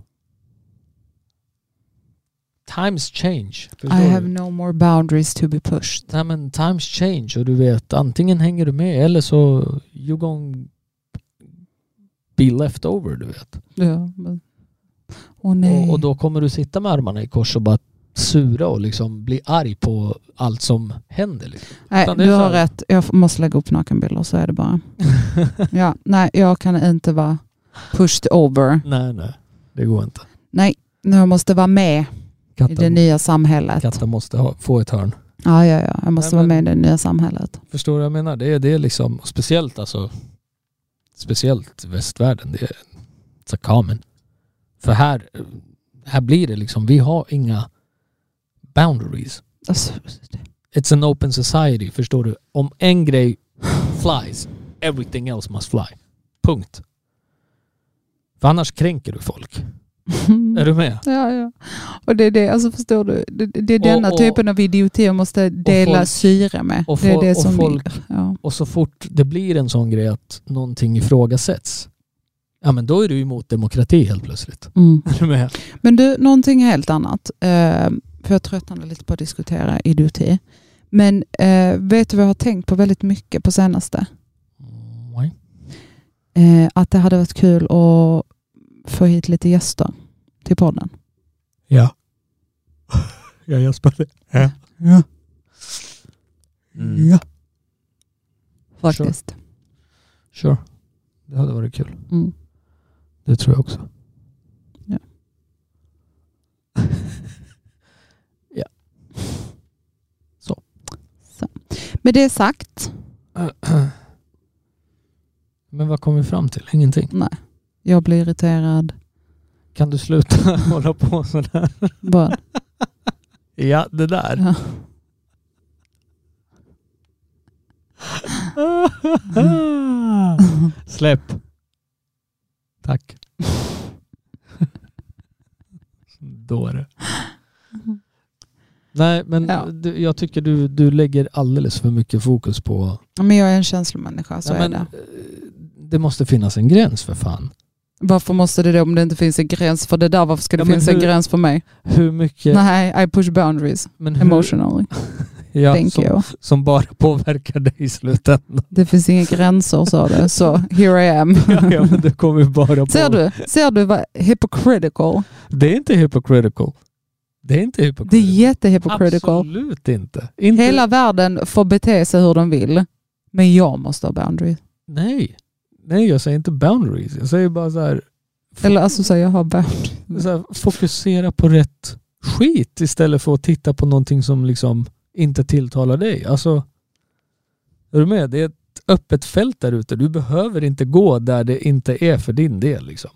S2: Times change. Förstår
S1: I
S2: du?
S1: have no more boundaries to be pushed.
S2: Nej men times change och du vet antingen hänger du med eller så you gon be left over du vet.
S1: Ja, men... Åh nej.
S2: Och, och då kommer du sitta med armarna i kors och bara sura och liksom bli arg på allt som händer. Liksom.
S1: nej,
S2: utan det är
S1: du
S2: så
S1: har
S2: här-
S1: rätt. Jag f- måste lägga upp nakenbilder, så är det bara. ja, nej, jag kan inte vara pushed over.
S2: nej nej, det går inte.
S1: Nej, jag måste vara med i det
S2: Katten,
S1: nya samhället.
S2: katten måste ha, få ett hörn.
S1: Ja, ja, ja. Jag måste
S2: Nej, men-
S1: vara med i det nya samhället.
S2: Förstår du vad jag menar? Det är, det är liksom och speciellt alltså speciellt västvärlden. Det är it's a common. För här, här blir det liksom, vi har inga boundaries.
S1: Alltså,
S2: It's an open society, förstår du? Om en grej flies, everything else must fly. Punkt. För annars kränker du folk. Är du med?
S1: Ja, ja. Och det är det, alltså förstår du, det, det är
S2: Och-
S1: denna
S2: och-
S1: typen av idioti jag måste dela
S2: folk-
S1: syre med.
S2: och
S1: det är
S2: fol-
S1: det
S2: och
S1: som vi-
S2: folk-
S1: ja.
S2: Och så fort det blir en sån grej att någonting ifrågasätts, ja men då är du emot demokrati helt plötsligt.
S1: mm.
S2: Är du med?
S1: Men du, någonting helt annat. Eh, för jag tröttnade lite på att diskutera idioti. Men eh, vet du vad jag har tänkt på väldigt mycket på senaste?
S2: Nej.
S1: Eh, att det hade varit kul att få hit lite gäster till podden.
S2: Ja. Jag gäspade. Ja.
S1: Ja,
S2: Mm.
S1: faktiskt.
S2: Sure. Det hade varit kul.
S1: Mm.
S2: Det tror jag också.
S1: Ja.
S2: ja.
S1: Med det sagt,
S2: Men vad kom vi fram till? Ingenting.
S1: jag blir irriterad.
S2: Kan du sluta hålla på sådär?
S1: Bara,
S2: Ja, det där.
S1: ja.
S2: Släpp. Tack. Dåre. Nej, men
S1: Ja.
S2: du, jag tycker du, du lägger alldeles för mycket fokus på...
S1: Men jag är en känslomänniska, så
S2: Nej,
S1: är
S2: men,
S1: det.
S2: eh, det måste finnas en gräns för fan.
S1: Varför måste det då, om det inte finns en gräns för det där, varför ska det
S2: Ja, men
S1: finnas en
S2: hur-
S1: gräns för mig?
S2: Hur mycket...
S1: Nej, I push boundaries
S2: men hur,
S1: emotionally.
S2: ja,
S1: thank
S2: som,
S1: you.
S2: som bara påverkar dig i slutändan.
S1: Det finns inga gränser sa du, så here I am.
S2: ja, ja, men det kommer bara på.
S1: Ser du, ser du vad hypocritical?
S2: Det är inte hypocritical. Det är inte
S1: Det är
S2: hypocritical.
S1: jättehypocritical.
S2: Absolut inte. inte.
S1: Hela världen får bete sig hur de vill, men jag måste ha boundaries.
S2: Nej. Nej, jag säger inte boundaries. Jag säger bara så här,
S1: Eller alltså så jag har boundaries.
S2: Mm. så här fokusera på rätt skit istället för att titta på någonting som liksom inte tilltalar dig. Alltså, är du med? Det är ett öppet fält där ute. Du behöver inte gå där det inte är för din del. Liksom.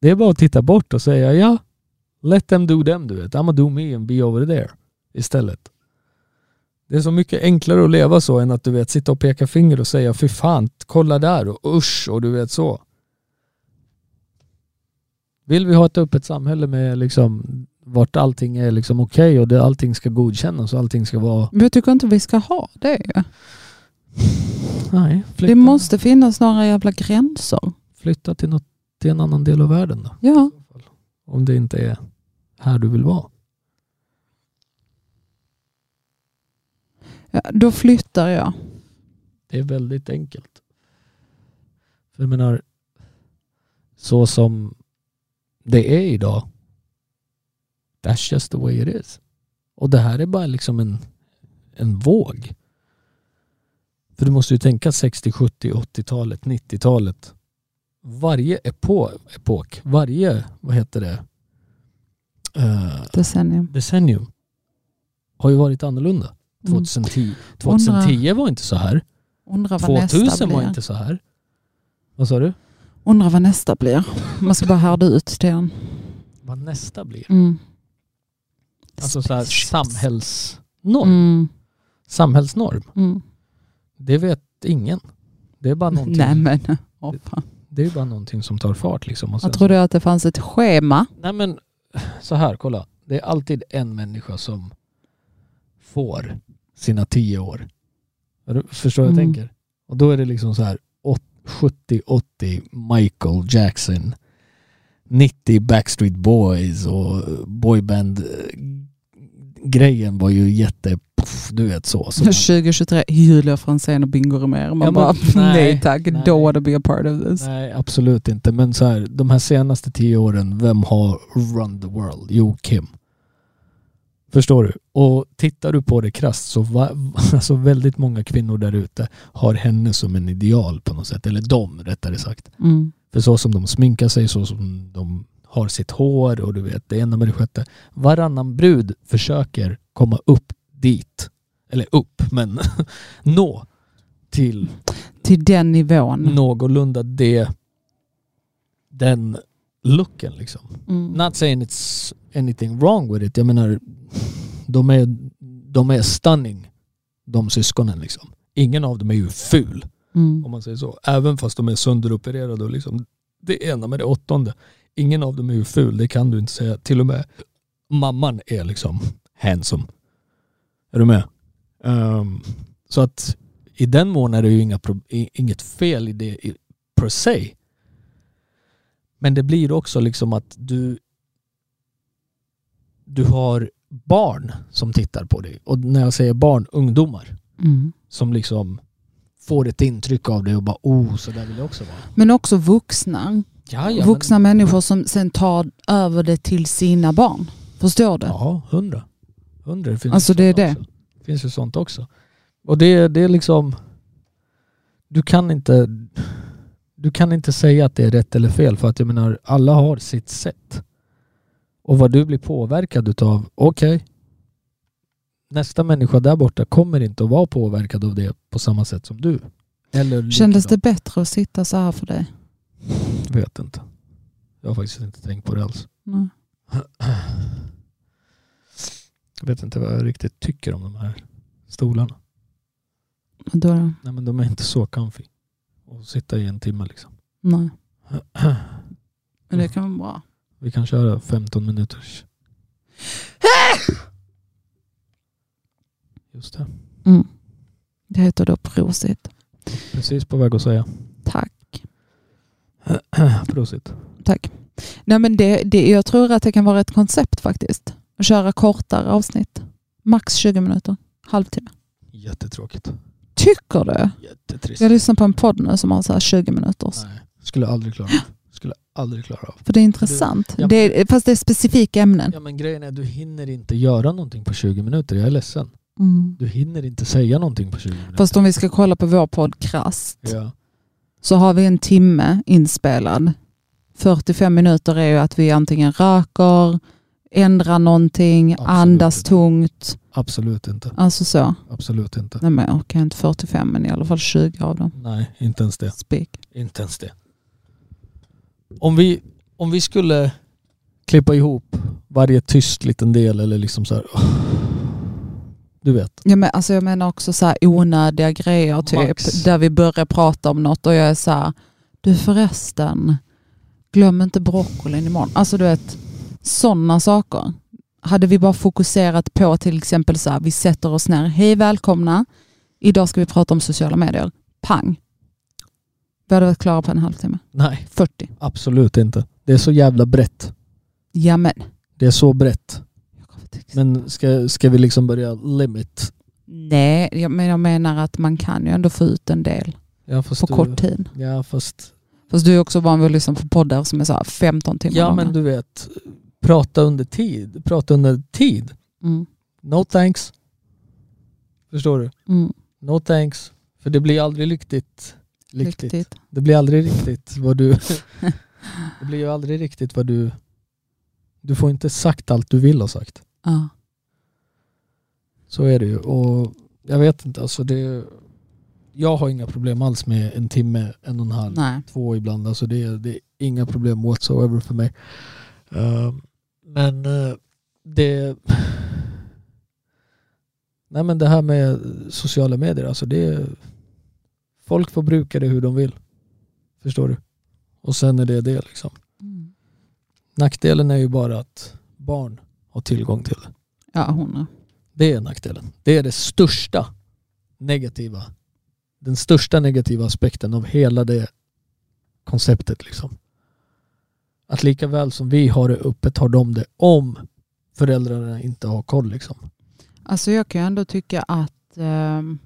S2: Det är bara att titta bort och säga ja, let them do them du vet. I'ma do me and be over there istället. Det är så mycket enklare att leva så än att du vet sitta och peka finger och säga fy fan, kolla där och usch och du vet så. Vill vi ha ett öppet samhälle med liksom vart allting är liksom okej och det, allting ska godkännas och allting ska vara...
S1: Men jag tycker inte vi ska ha det. ju.
S2: Nej, flytta,
S1: Det måste finnas några jävla gränser.
S2: flytta till, något, till en annan del av världen då.
S1: Ja,
S2: Om det inte är här du vill vara.
S1: ja, då flyttar jag.
S2: Det är väldigt enkelt. För jag menar, så som det är idag That's just the way it is. Och det här är bara liksom en, en våg. För du måste ju tänka 60, 70, 80-talet, 90-talet. Varje epo epok, varje, vad heter det, eh,
S1: Decennium.
S2: decennium har ju varit annorlunda.
S1: Mm.
S2: 2010, 2010 var inte så här.
S1: Undrar vad nästa
S2: 2000
S1: blir.
S2: var inte så här. Vad sa du?
S1: Undrar vad nästa blir. Man ska bara härda ut den.
S2: Vad nästa blir.
S1: Mm.
S2: Alltså så här,
S1: Spaceships.
S2: samhällsnorm.
S1: Mm.
S2: Samhällsnorm.
S1: Mm.
S2: Det vet ingen. Det är bara någonting,
S1: Nej men, åh, fan.
S2: det är bara någonting som tar fart. Liksom. Och sen
S1: jag trodde att det fanns ett schema.
S2: Nej men så här, kolla. Det är alltid en människa som får sina tio år. Är du- Förstår vad jag
S1: Mm.
S2: tänker? Och då är det liksom så här åt- 70-80 Michael Jackson, 90 Backstreet Boys och boyband eh, grejen var ju jätte, puff, du vet så. så man,
S1: 2023, Julia Franzén och Bingo Rimér. Man
S2: Ja, men-
S1: bara, nej,
S2: nej,
S1: tack,
S2: nej.
S1: don't wanna be a part of this.
S2: nej absolut inte men så här, de här senaste tio åren, vem har run the world? Jo, Kim. Förstår du? Och tittar du på det krasst så va, alltså väldigt många kvinnor där ute har henne som en ideal på något sätt. Eller de rättare sagt.
S1: Mm.
S2: För så som de sminkar sig, så som de har sitt hår och du vet det ena med det sjätte. Varannan brud försöker komma upp dit. Eller upp, men nå till
S1: Till den nivån.
S2: Mm. någorlunda det den looken liksom.
S1: Mm.
S2: Not saying it's anything wrong with it. Jag menar, de är, de är stunning, de syskonen liksom. Ingen av dem är ju ful,
S1: Mm.
S2: om man säger så. Även fast de är sönderopererade och liksom det ena med det åttonde. Ingen av dem är ju ful, det kan du inte säga. Till och med mamman är liksom handsome. Är du med? Ehm, så att i den mån är det ju inga, pro- i- inget fel i det i- per se. Men det blir också liksom att du du har barn som tittar på dig. Och när jag säger barn, ungdomar
S1: Mm.
S2: som liksom får ett intryck av det och bara oh, så där vill jag också vara.
S1: Men också vuxna.
S2: Ja,
S1: Vuxna människor som sen tar över det till sina barn. Förstår du?
S2: Ja, hundra. Hundra. Det finns
S1: Alltså,
S2: ju
S1: det är
S2: sånt
S1: det.
S2: Också. Det finns ju sånt också. Och det, det är liksom... Du kan inte... Du kan inte säga att det är rätt eller fel för att jag menar, alla har sitt sätt. Och vad du blir påverkad utav, okej. nästa människa där borta kommer inte att vara påverkad av det på samma sätt som du. Eller
S1: Kändes det
S2: likadant.
S1: bättre att sitta så här för dig?
S2: Vet inte. Jag har faktiskt inte tänkt på det alls.
S1: Nej.
S2: Jag vet inte vad jag riktigt tycker om de här stolarna.
S1: Då,
S2: Nej men de är inte så comfy. Och sitta i en timme liksom.
S1: nej. Men det kan vara bra.
S2: Vi kan köra 15 minuters. Just det.
S1: Mm. Det heter då prosit.
S2: Precis på väg att säga.
S1: Tack.
S2: Prosit.
S1: Tack. Nej, men det, det, jag tror att det kan vara ett koncept faktiskt. Att köra kortare avsnitt. Max 20 minuter. Halvtimme.
S2: Jättetråkigt.
S1: Tycker du?
S2: Jättetrist.
S1: Jag lyssnar på en podd nu som har så här 20 minuters.
S2: Nej, skulle aldrig klara av. Skulle aldrig klara av.
S1: För det är intressant.
S2: Ja.
S1: Det är, fast det är specifika ämnen.
S2: Ja men grejen är du hinner inte göra någonting på 20 minuter. Jag är ledsen.
S1: Mm.
S2: Du hinner inte säga någonting på 20 minuter.
S1: Fast om vi ska kolla på vår podd krasst
S2: Ja.
S1: så har vi en timme inspelad. 45 minuter är ju att vi antingen röker, ändrar någonting,
S2: Absolut.
S1: andas tungt.
S2: Absolut inte.
S1: Alltså så.
S2: Absolut inte.
S1: Nej men jag orkar inte 45 men i alla fall 20 av dem.
S2: Nej, inte ens det.
S1: Spik.
S2: Inte ens det. Om vi, om vi skulle klippa ihop varje tyst liten del eller liksom så här. Du vet.
S1: Ja, men alltså jag menar också så här onödiga grejer typ,
S2: Max.
S1: där vi börjar prata om något och jag är så här, du förresten, glöm inte broccolin imorgon. Alltså du vet, sådana saker. Hade vi bara fokuserat på till exempel så här, vi sätter oss ner, hej välkomna, idag ska vi prata om sociala medier. Pang! Vi hade varit klara på en halvtimme,
S2: Nej,
S1: 40.
S2: absolut inte. Det är så jävla brett.
S1: Ja men.
S2: Det är så brett. Men ska, ska vi liksom börja limit?
S1: Nej, jag men jag menar att man kan ju ändå få ut en del
S2: Ja, fast
S1: på
S2: du,
S1: kort tid.
S2: Ja, fast
S1: Fast du är också van vid att lyssna på poddar som är så här 15 timmar
S2: Ja
S1: långa.
S2: men du vet, prata under tid. Prata under tid.
S1: Mm.
S2: No thanks. Förstår du?
S1: Mm.
S2: No thanks. För det blir aldrig riktigt. Riktigt.
S1: Riktigt.
S2: Det blir aldrig riktigt vad du... det blir ju aldrig riktigt vad du... Du får inte sagt allt du vill ha sagt.
S1: Ja.
S2: Så är det ju. Och jag vet inte, alltså det... Jag har inga problem alls med en timme, en och en halv,
S1: Nej.
S2: två ibland. Alltså det, är- det är inga problem whatsoever för mig. Eh, men eh, det... Nej men det här med sociala medier, alltså det... är- Folk får bruka det hur de vill. Förstår du? Och sen är det det liksom.
S1: Mm.
S2: Nackdelen är ju bara att barn har tillgång till det.
S1: Ja, hon är.
S2: Det är nackdelen. Det är det största negativa. Den största negativa aspekten av hela det konceptet. Liksom. Att lika väl som vi har det öppet har de det om föräldrarna inte har koll. Liksom.
S1: Alltså jag kan ju ändå tycka att ehm,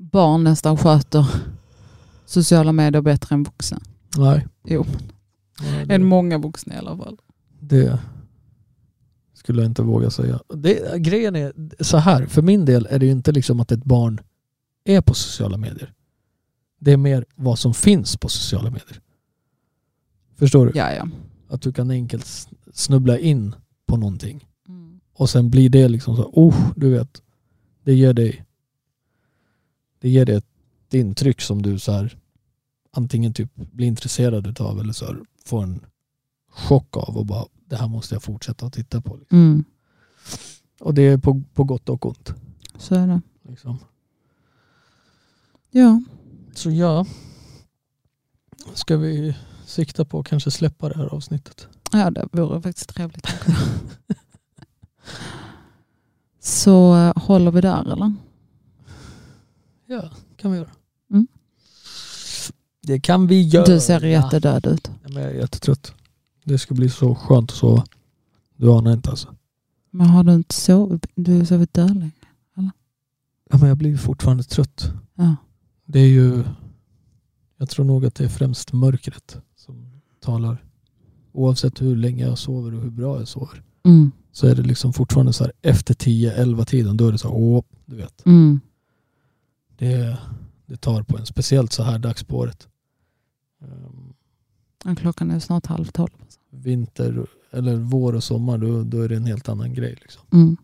S1: barn nästan sköter sociala medier bättre än vuxna.
S2: Nej.
S1: Jo.
S2: Nej,
S1: Än
S2: det,
S1: många vuxna i alla fall.
S2: det skulle jag inte våga säga. Det, grejen är så här, för min del är det ju inte liksom att ett barn är på sociala medier. Det är mer vad som finns på sociala medier. Förstår du?
S1: Ja, ja.
S2: Att du kan enkelt s- snubbla in på någonting.
S1: Mm.
S2: Och sen blir det liksom så, oh, du vet. Det ger dig det ger dig ett intryck som du så här antingen typ blir intresserad utav eller så här, får en chock av och bara det här måste jag fortsätta att titta på.
S1: Mm.
S2: Och det är på, på gott och ont.
S1: Så är det.
S2: Liksom.
S1: Ja.
S2: Så ja, ska vi sikta på att kanske släppa det här avsnittet?
S1: ja, det vore faktiskt trevligt. Så eh, håller vi där eller?
S2: Ja, kan vi göra.
S1: Mm.
S2: Det kan vi göra.
S1: Du ser jättedöd ut.
S2: Nej, men jag är jättetrött. Det ska bli så skönt att sova. Du anar inte alltså.
S1: Men har du inte sovit? Du har sovit där länge.
S2: Ja, men jag blir fortfarande trött.
S1: Ja.
S2: Det är ju... Jag tror nog att det är främst mörkret som talar. Oavsett hur länge jag sover och hur bra jag sover
S1: Mm.
S2: så är det liksom fortfarande så här efter 10-11 tiden då är det så här, åh, du vet.
S1: Mm.
S2: Det, det tar på en, speciellt så här dags på året. Ehm,
S1: Ja, Klockan är snart halv tolv.
S2: vinter eller vår och sommar då, då är det en helt annan grej. Liksom.
S1: Mm.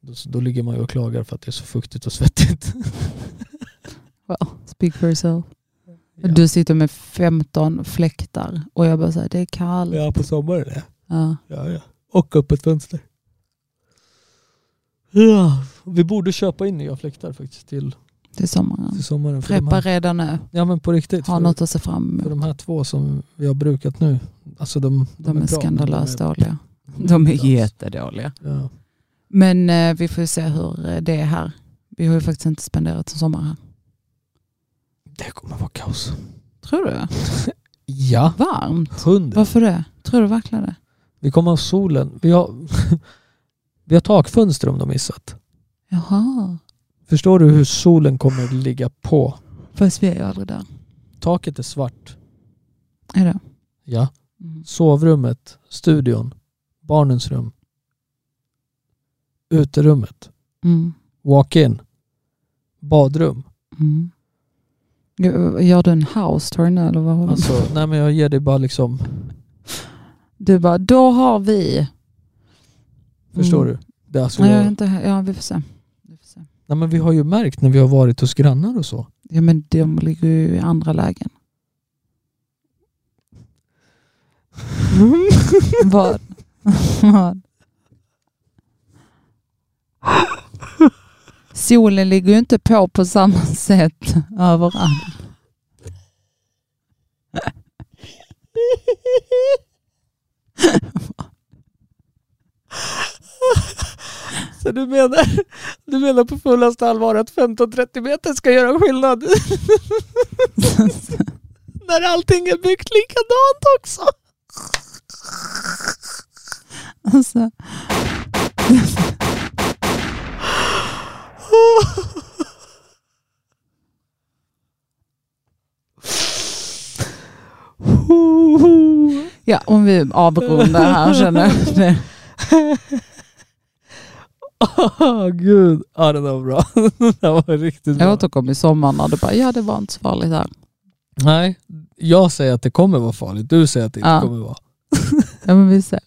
S2: Då, då ligger man ju och klagar för att det är så fuktigt och svettigt.
S1: Well, speak for yourself. Du sitter med 15 fläktar och jag bara säger det är kallt.
S2: Ja, på sommaren ja.
S1: Ja.
S2: ja, ja. Och öppet fönster. Ja, vi borde köpa in nya fläktar faktiskt till,
S1: till sommaren.
S2: till sommaren. För de
S1: Preppa
S2: här,
S1: redan nu.
S2: ja men på riktigt.
S1: Ha
S2: För,
S1: något att se fram
S2: för
S1: emot.
S2: de här två som vi har brukat nu. Alltså de,
S1: De är
S2: bra, men de
S1: skandalöst
S2: är-
S1: dåliga. De är
S2: Alltså,
S1: jättedåliga.
S2: Ja.
S1: Men eh, vi får ju se hur eh, det är här. Vi har ju faktiskt inte spenderat en sommar här.
S2: Det kommer vara kaos.
S1: Tror du?
S2: Ja,
S1: Varmt?
S2: hundra.
S1: Varför det? Tror du verkligen det?
S2: Vi kommer ha solen. Vi har, vi har takfönster om de missat.
S1: Jaha.
S2: Förstår du hur solen kommer att ligga på?
S1: Fast vi är ju aldrig där.
S2: Taket är svart.
S1: Är det?
S2: Ja.
S1: Mm.
S2: Sovrummet, studion, barnens rum, uterummet,
S1: Mm.
S2: walk-in, badrum.
S1: Mm. Gör- Gör du en house tour nu eller vad har vi?
S2: Alltså, nej men jag ger dig bara liksom,
S1: Du bara, då har vi.
S2: förstår
S1: Mm.
S2: du? Det är alltså,
S1: Nej, jag är inte här. Ja, vi får se. Vi får se.
S2: nej men vi har ju märkt när vi har varit hos grannar och så.
S1: Ja, men de ligger ju i andra lägen. Vad? Vad? Solen ligger ju inte på på samma sätt överallt.
S2: Så du menar, du menar på fullaste allvar att 15-30 meter ska göra skillnad? När allting är byggt likadant också?
S1: Alltså, Ja, om vi avrundar här känner jag. Det-
S2: Åh Ah, gud, ja den där var bra. den där var riktigt bra.
S1: Jag återkom i sommar när du bara, ja det var inte så farligt här.
S2: Nej, jag säger att det kommer vara farligt. Du säger att det inte
S1: Ja.
S2: kommer vara.
S1: Ja men vi ser.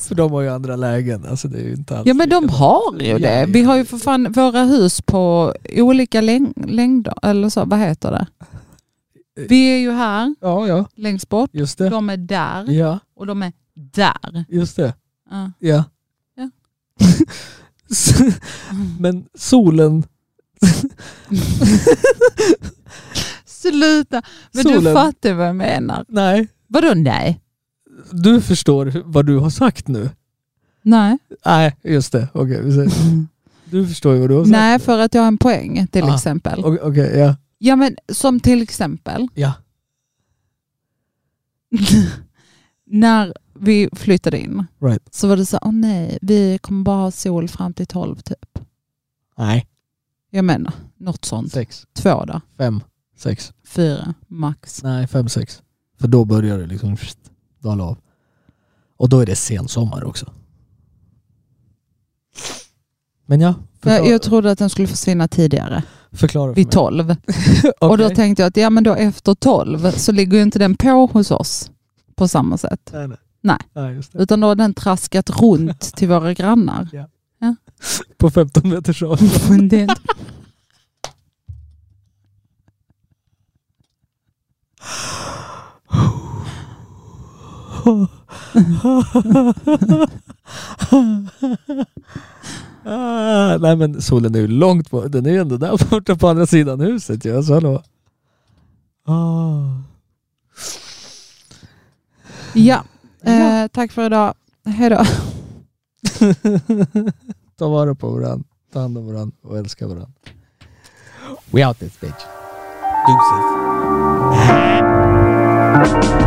S2: För de har ju andra lägen. Alltså det är ju inte alls
S1: Ja men de
S2: lika.
S1: har ju det. Vi har ju för fan våra hus på olika läng- längder, eller så, vad heter det? Vi är ju här
S2: Ja, ja,
S1: längst bort,
S2: just det.
S1: de är där
S2: Ja,
S1: och de är där.
S2: just det.
S1: Ja.
S2: Ja.
S1: Ja.
S2: men solen,
S1: Sluta! Men du
S2: Solen.
S1: fattar vad jag menar.
S2: nej.
S1: Vadå nej?
S2: Du förstår hur- vad du har sagt nu.
S1: Nej.
S2: Nej, just det. Okej, vi säger. Du förstår ju vad du har sagt.
S1: Nej för att jag har en poäng till
S2: Mm. Ah.
S1: exempel.
S2: Okej, okej, ja.
S1: Ja men som till exempel
S2: Ja.
S1: när vi flyttade in
S2: Right.
S1: så var det så här, åh nej, vi kommer bara ha sol fram till tolv typ.
S2: Nej.
S1: Jag menar, något sånt.
S2: Sex,
S1: Två där,
S2: fem, sex.
S1: fyra max.
S2: Nej, fem, sex. För då börjar det liksom pst, dala av. Och då är det sensommar också. Men ja,
S1: Jag,
S2: förklara.
S1: jag trodde att den skulle försvinna tidigare,
S2: förklara för
S1: vid
S2: mig.
S1: tolv. Och då
S2: Okej.
S1: tänkte jag att ja men då efter tolv så ligger ju inte den på hos oss på samma sätt.
S2: Nej, nej.
S1: Nej.
S2: Nej, just det.
S1: Utan då har den traskat runt till våra grannar.
S2: På 15 meters avstånd.
S1: Men det är inte-
S2: ah, nej men solen är ju långt bort. Den är ju ändå där borta på andra sidan huset ju. Alltså, hallå. Ah.
S1: Ja,
S2: Ja.
S1: eh, tack för idag. Hej då.
S2: Ta vara på varandra, ta hand om varandra och älska varandra. We out this bitch. Deuces.